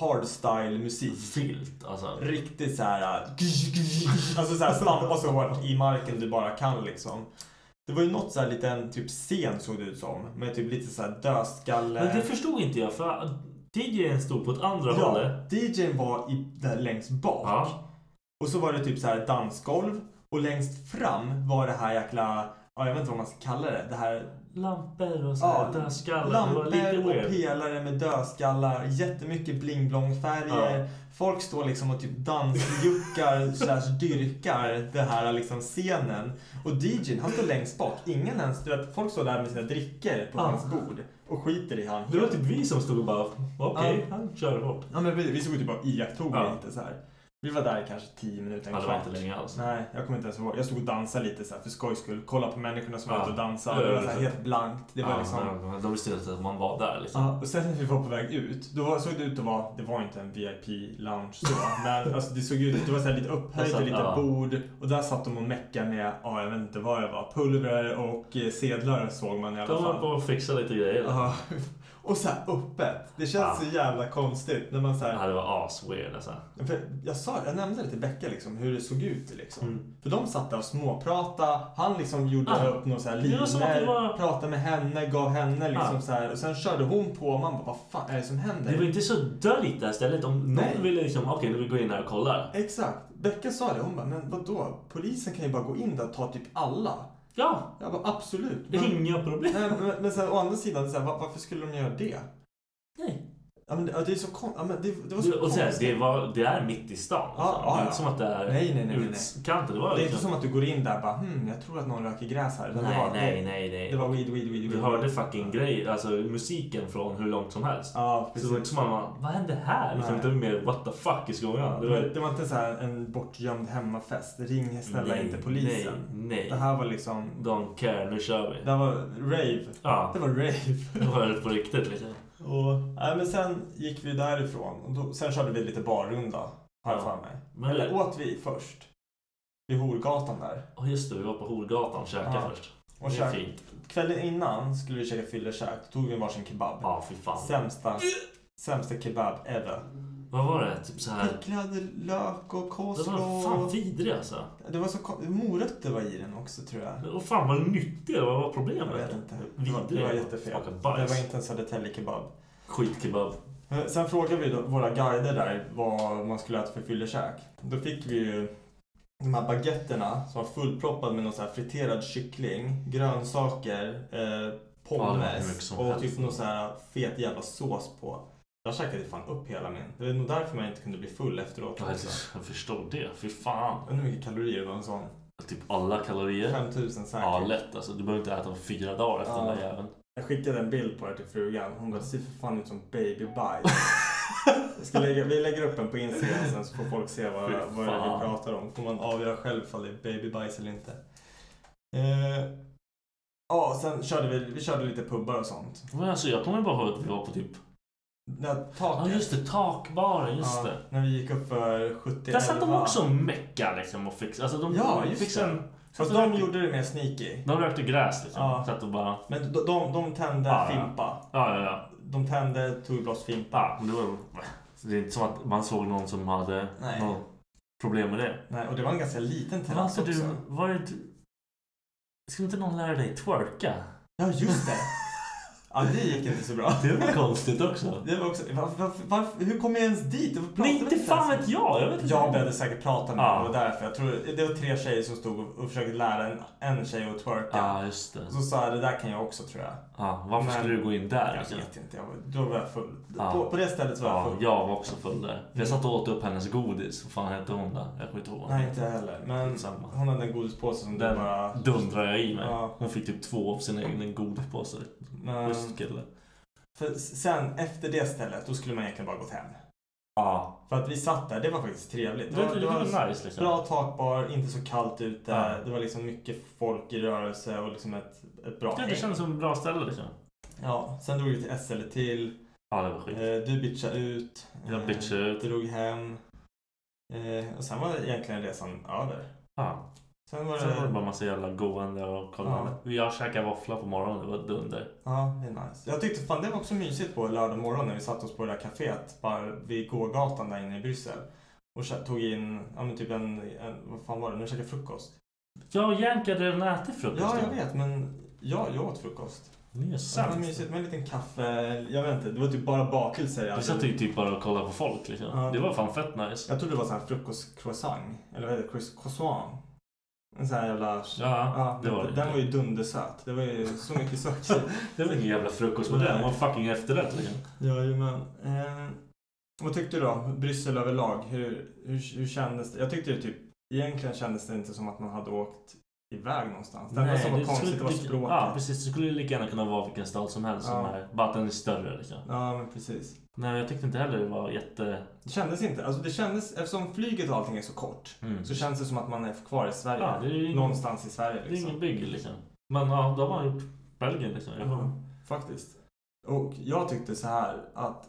B: hardstyle musik.
A: Filt alltså.
B: Riktigt så här... äh, gsh, gsh, gsh, Alltså så här stampa så hårt i marken du bara kan liksom. Det var ju något så här liten typ scen såg det ut som. Med typ lite så här dödskalle.
A: Men det förstod inte jag för DJn stod på ett andra hållet.
B: Ja, DJn var i, där längst bak.
A: Ja.
B: Och så var det typ så här dansgolv. Och längst fram var det här jäkla... Ja, jag vet inte vad man ska kalla det. Det här...
A: Lampor och så här, där skallar. Det var lite
B: lampor och
A: weird.
B: pelare med dödskallar. Jättemycket bling-blong-färger.
A: Ja.
B: Folk står liksom och typ dansjuckar slash dyrkar den här liksom scenen. Och DJn han står längst bak. Ingen ens, du vet, folk står där med sina drickor på
A: Ja.
B: hans bord och skiter i han.
A: Det var typ vi som stod och bara okej,
B: Ja.
A: han kör hårt.
B: Ja men vi, vi såg typ bara iakttog
A: Ja.
B: lite så här. Vi var där i kanske 10 minuter, en
A: Ja, det var
B: kvart.
A: inte länge alls.
B: Nej, jag kommer inte ens ihåg. Jag stod och dansade lite så här för skojs skull. Kolla på människorna som var
A: Ja.
B: ute och dansade. Det var så här helt blankt. Det var
A: ja,
B: liksom...
A: men De visste inte att man var där liksom.
B: Ja, och sen när vi var på väg ut, då var, såg det ut att vara, det var inte en VIP-lounge så, men alltså, det såg ut, det var så här lite upphöjt och lite
A: Ja.
B: bord och där satt de och meckade med, ja jag vet inte vad det var, pulver och eh, sedlar såg man i alla
A: De höll på
B: fall.
A: och fixade lite grejer.
B: Ja. Och så här öppet, det känns så jävla konstigt när man så här,
A: Ja, det var asweird alltså.
B: för jag, sa, jag nämnde det till Becka liksom, hur det såg ut. Liksom. För de satt där och småpratade. Han liksom gjorde
A: Mm. Ah.
B: upp några så här
A: Det var som att det
B: linor,
A: var-
B: pratade med henne, gav henne liksom
A: Ah.
B: så här. Och sen körde hon på och man bara, vad fan är det som händer?
A: Det var inte så dörligt det här stället. Om
B: Nej.
A: någon ville liksom, okej nu vill vi gå in här och kolla.
B: Exakt. Becka sa det. Hon bara, men vadå? Polisen kan ju bara gå in där och ta typ alla.
A: Ja,
B: Jag bara, absolut.
A: det
B: Men,
A: är inga problem.
B: nej, men, men så här, å andra sidan, så här, va- varför skulle de göra det?
A: Nej.
B: Ja, men, det- ja, det är så kon- ja, men det, det var så
A: Du, och så här,
B: konstigt.
A: det, var, det är mitt i stan.
B: Ja,
A: alltså.
B: ja,
A: det är
B: ja.
A: inte som att det är
B: Nej, nej, nej, nej, nej.
A: utkanten. Det var
B: Det är
A: liksom-
B: inte som att du går in där och bara, hmm, jag tror att någon röker gräs här. Utan det
A: Nej,
B: var-
A: nej, nej, nej.
B: Det var weed, weed, weed.
A: Vi
B: weed.
A: hörde fucking grejer, alltså musiken från hur långt som helst.
B: Ja,
A: så det
B: precis.
A: var inte som att man, vad hände här? Liksom,
B: Nej.
A: det var mer what the fuck is going on? Det var,
B: det var inte så här en bortgömd hemmafest. Ring snälla
A: Nej,
B: inte polisen.
A: nej, nej.
B: Det här var liksom...
A: don't care, nu kör vi.
B: Det här var rave.
A: Ja.
B: Det var
A: Det
B: rave.
A: var på riktigt liksom.
B: och, nej, men sen gick vi därifrån. Och då, sen körde vi lite barrunda, har
A: Ja.
B: jag för mig.
A: Men-
B: Eller åt vi först. Vid Horgatan där.
A: Och just det, vi var på Horgatan och käkade
B: Ja.
A: först.
B: Och
A: det är
B: käk-
A: fint.
B: Kvällen innan skulle vi käka fyllekäk. Då tog vi varsin kebab.
A: Ja, fy fan.
B: Sämsta, sämsta kebab ever.
A: Vad var det? Typ så här.
B: Picklad lök och
A: Det
B: coleslaw.
A: var fan vidrig alltså.
B: Det var så kon- Morötter var i den också tror jag.
A: Och fan vad nyttig Vad var
B: Jag
A: problemet?
B: vet inte. Det var,
A: Vidrig.
B: det var jättefel.
A: Smakade
B: Det var
A: bajs.
B: inte en Södertäljekebab.
A: Skitkebab.
B: Eh, Sen frågade vi då våra guider där vad man skulle äta för fyllekäk. Då fick vi ju de här baguetterna som var fullproppade med någon så här friterad kyckling, grönsaker, eh,
A: Ja, det var hur mycket
B: pommes
A: som
B: och
A: helst.
B: typ någon så här fet jävla sås på. Jag käkade fan upp hela min. Det är nog därför man inte kunde bli full efteråt
A: Alltså, Jag
B: också.
A: förstår det. Fy fan.
B: Undrar hur mycket kalorier det var en sån.
A: Typ alla kalorier.
B: 5000 säkert.
A: Ja, lätt alltså. Du behöver inte äta på fyra dagar efter
B: Ja.
A: den där jäveln.
B: Jag skickade en bild på det till frugan. Hon bara, ser för fan ut som babybajs. Jag ska lägga, vi lägger upp den på Instagram sen så får folk se vad,
A: Fy
B: vad det är vi
A: fan.
B: pratar om. Får man avgöra själv ifall det är babybajs eller inte. Eh, Ja, sen körde vi, vi körde lite pubbar och sånt.
A: Men alltså, jag kommer bara ihåg att vi var på typ...
B: När
A: Ja,
B: taket.
A: just det. Takbaren. Just
B: ja,
A: det.
B: När vi gick upp för 70
A: Där satt de
B: elva.
A: också och meckade liksom och fixade. Alltså, de
B: Ja, just
A: fixade
B: det.
A: en-
B: Fast de gjorde det mer sneaky.
A: De rökte gräs liksom.
B: Ja.
A: Satt och bara...
B: Men de, de, de tände
A: Ja, ja.
B: fimpa.
A: Ja, ja, ja.
B: De tände, tog ett glas fimpa.
A: Ja, men det var... Så det är inte som att man såg någon som hade
B: Nej.
A: något problem med det.
B: Nej, och det var en ganska liten
A: Var
B: terrass
A: inte
B: också.
A: du... Var det... Skulle inte någon lära dig twerka?
B: Ja, just det. Ja, det gick inte så bra.
A: Det var konstigt också.
B: Det var också, varför, varför, varför, hur kom jag ens dit? Varför pratade
A: Nej,
B: vi
A: inte
B: ens
A: fan
B: om-
A: vet jag. Jag vet inte.
B: alltså. Jag började säkert prata med
A: Ja.
B: honom, det var därför. Jag tror, det var tre tjejer som stod och, och försökte lära en, en tjej att twerka.
A: Ja, ah, just det.
B: Så sa jag, det där kan jag också tror jag.
A: Ah, varför
B: Men-
A: skulle du gå in där? liksom?
B: Jag vet inte, jag var, då var jag full.
A: Ja.
B: På, på det stället så var jag
A: Ja,
B: full.
A: jag var också full där. Jag satt och åt upp hennes godis. Vad fan hette hon där? Jag kommer inte ihåg.
B: Nej, inte jag heller. Men
A: Samma.
B: hon hade en godispåse som du
A: Den
B: bara...
A: dundrar jag i mig.
B: Ja.
A: Hon fick typ två av sina egna godispåsar.
B: Men-
A: Schysst kille.
B: För sen, efter det stället, då skulle man egentligen bara gått hem.
A: Ja.
B: För att vi satt där, det var faktiskt trevligt.
A: Det, det, det var nice liksom.
B: Bra takbar, inte så kallt ute.
A: Ja.
B: Det var liksom mycket folk i rörelse och liksom ett, ett bra
A: Ja, det
B: häng.
A: kändes som ett bra ställe liksom.
B: Ja, sen drog vi till SL till.
A: Ja, det var
B: Eh,
A: skit.
B: Du bitchade ut.
A: Jag
B: Eh,
A: bitchade ut.
B: Drog hem. Eh, Och sen var egentligen resan över.
A: Ja.
B: Sen var det...
A: Sen var det bara massa jävla gående och kollande. Jag käkade våffla på morgonen. Det var dunder.
B: Ja, det är nice. Jag tyckte fan det var också mysigt på lördag morgon när vi satt oss på det där kaféet bara vid gågatan där inne i Bryssel. Och kä- tog in, ja men typ en, en vad fan var det, nu käkade jag frukost.
A: Jag jänkade den ätit frukost.
B: Ja, jag vet, men ja, jag åt frukost.
A: Ni är
B: Det var
A: sämst.
B: mysigt med en liten kaffe, jag vet inte, det var typ bara bakelser. Jag,
A: Du satt ju typ bara och kollade på folk liksom.
B: Ja.
A: Det var fan fett nice.
B: jag trodde det var sån här frukostcroissant, eller vad heter det, Croiss- croissant? En sån här jävla...
A: Ja, det var
B: den,
A: det.
B: den var ju dundersöt. Det var ju så mycket socker.
A: Det var ingen jävla frukost med den. Det var fucking efterrätt liksom.
B: Jajamän. Eh, vad tyckte du då? Bryssel överlag, hur, hur, hur kändes det? Jag tyckte det typ, egentligen kändes det inte som att man hade åkt iväg någonstans. Det enda som var konstigt var språket.
A: Ja, precis. Det skulle lika gärna kunna vara vilken stad som helst.
B: Ja.
A: Som är, bara att den är större liksom.
B: Ja, men precis.
A: Nej, jag tyckte inte heller det var jätte...
B: Det kändes inte, alltså det kändes, eftersom flyget och allting är så kort,
A: Mm.
B: så känns det som att man är kvar i Sverige.
A: Ja, det är ju-
B: någonstans i
A: Det
B: Sverige
A: är ingen
B: liksom.
A: bygg liksom. Men ja, då har man gjort Belgien liksom. Jag
B: Ja,
A: bara,
B: faktiskt. Och jag tyckte så här att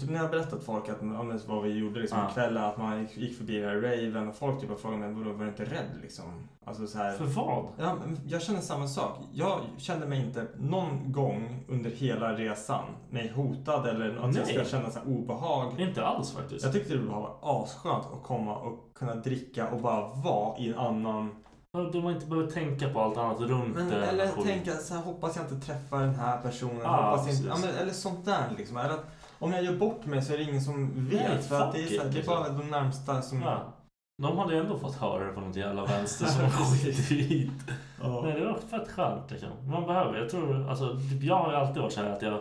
B: Typ när jag har berättat folk att, ja, men vad vi gjorde liksom
A: Ja.
B: kvällen, att man gick, gick förbi den här raven och folk typ har frågat mig vadå, var du inte rädd liksom? Alltså så här,
A: För vad?
B: Ja, men jag känner samma sak. Jag kände mig inte någon gång under hela resan mig hotad eller att jag
A: Nej.
B: skulle känna så här obehag.
A: Inte alls faktiskt.
B: Jag tyckte det var asskönt att komma och kunna dricka och bara vara i en annan...
A: Ja, Då man inte behöver tänka på allt annat runt eh,
B: Men,
A: det.
B: eller tänka så här, hoppas jag inte träffar den här personen.
A: Ja,
B: hoppas jag inte, ja,
A: precis.
B: men, eller sånt där liksom. Eller att, om jag gör bort mig så är det ingen som vet.
A: Nej,
B: för att det, är
A: fuck
B: så här,
A: it,
B: det är
A: liksom.
B: bara de närmsta som...
A: Ja. De hade ju ändå fått höra det på något jävla vänster som var skitvitt.
B: Ja.
A: Nej, det var fett skönt liksom. Man behöver, jag tror, alltså typ jag har ju alltid varit så här att jag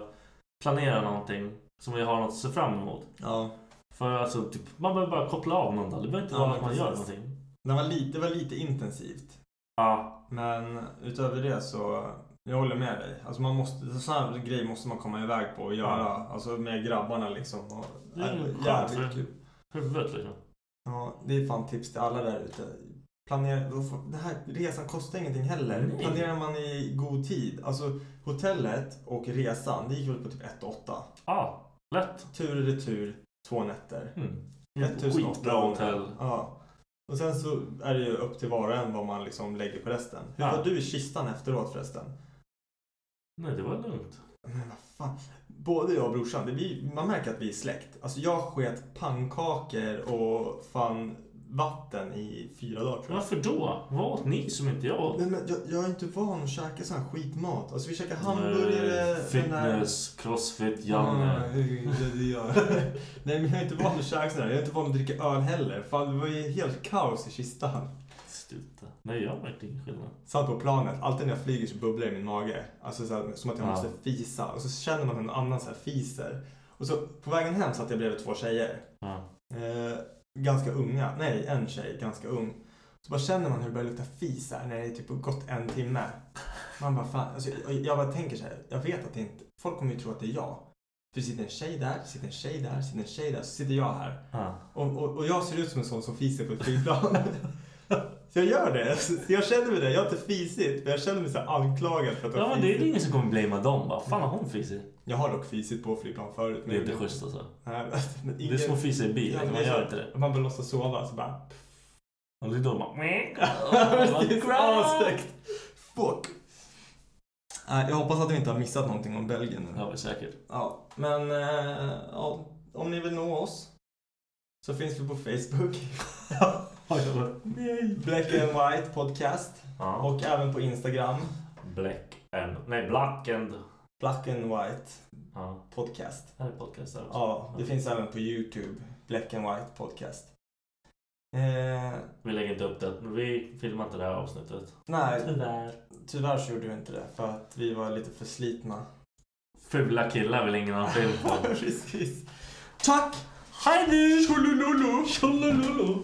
A: planerar någonting som jag har något att se fram emot.
B: Ja.
A: För alltså, typ, man behöver bara koppla av någon dag. Det behöver inte
B: Ja,
A: vara
B: men
A: att man
B: precis.
A: gör någonting.
B: Det, var lite, det var lite intensivt.
A: Ja,
B: Men utöver det så, jag håller med dig. Alltså man måste, sådana här grejer måste man komma iväg på och göra.
A: Ja.
B: Alltså med grabbarna liksom. Och,
A: Det är
B: var
A: skönt,
B: jävligt
A: det.
B: kul.
A: huvudet liksom.
B: Ja, det är fan tips till alla där ute. Planera, då får- den här resan kostar ingenting heller.
A: Nej.
B: Planerar man i god tid. Alltså hotellet och resan, det gick väl på typ 1 8.
A: Ja, lätt.
B: Tur och retur, två nätter.
A: Mm.
B: 1800.
A: Skitbra hotell.
B: Ja. Och sen så är det ju upp till var och en vad man liksom lägger på resten. Hur
A: Ja.
B: var du i kistan efteråt förresten?
A: Nej, det var lugnt.
B: Men vad fan. Både jag och brorsan, det, vi, man märker att vi är släkt. Alltså jag sket pannkakor och fan vatten i fyra dagar tror jag.
A: Varför då? Vad åt ni som inte jag åt?
B: Men, men jag, jag är inte van att käka sån här skitmat. Alltså vi käkar hamburgare.
A: Eh,
B: den där-
A: Fitness, crossfit, Janne.
B: Ja, det- det gör jag. Nej men jag är inte van att käka sån här. Jag är inte van att dricka öl heller. Fan det var ju helt kaos i kistan.
A: Sluta. Nej, jag märkte ingen skillnad.
B: Satt på planet, alltid när jag flyger så bubblar det i min mage. Alltså så här, som att jag
A: Ja.
B: måste fisa. Och så känner man hur någon annan så här fiser. Och så på vägen hem satt jag bredvid två tjejer.
A: Ja.
B: Eh, ganska unga. Nej, en tjej, ganska ung. Så bara känner man hur det börjar lukta fis här när det är typ gått en timme. Man bara fan, alltså, jag, jag bara tänker så här, jag vet att det inte, folk kommer ju tro att det är jag. För det sitter en tjej där, sitter en tjej där, sitter en tjej där, så sitter jag här.
A: Ja.
B: Och, och, och jag ser ut som en sån som fiser på ett flygplan. så jag gör det. Så Jag känner mig det, jag har inte fisit, men jag känner mig så här anklagad för att jag
A: ja,
B: har
A: men det är
B: fisit.
A: ingen som kommer blamea dem. Bara, fan har hon fisit?
B: Jag har dock fisit på flygplan förut.
A: Det är
B: men-
A: inte schysst alltså.
B: Nej, men
A: Det är som att fisa i bil.
B: Ja, men
A: Man
B: det är
A: gör
B: så-
A: inte det.
B: Man bara låtsas sova, så bara...
A: Och det är då man...
B: Precis, Avstäckt. Fuck. Nej, jag hoppas att vi inte har missat någonting om Belgien nu.
A: Ja, men säkert.
B: Ja, men eh, ja, om ni vill nå oss så finns vi på Facebook.
A: Nej.
B: Black and White Podcast.
A: Ja.
B: Och även på Instagram.
A: Black and... Nej, Black and...
B: Black and White
A: Ja.
B: Podcast.
A: Här är podcasten också.
B: Ja, det finns även på Youtube. Black and White Podcast. Eh,
A: Vi lägger inte upp det. Vi filmar inte det här avsnittet.
B: nej,
A: Tyvärr.
B: tyvärr så gjorde vi inte det för att vi var lite för slitna.
A: Fula killar vill ingen ha film på.
B: Precis. Tack! Hej nu! Tjolololo! Tjolololo!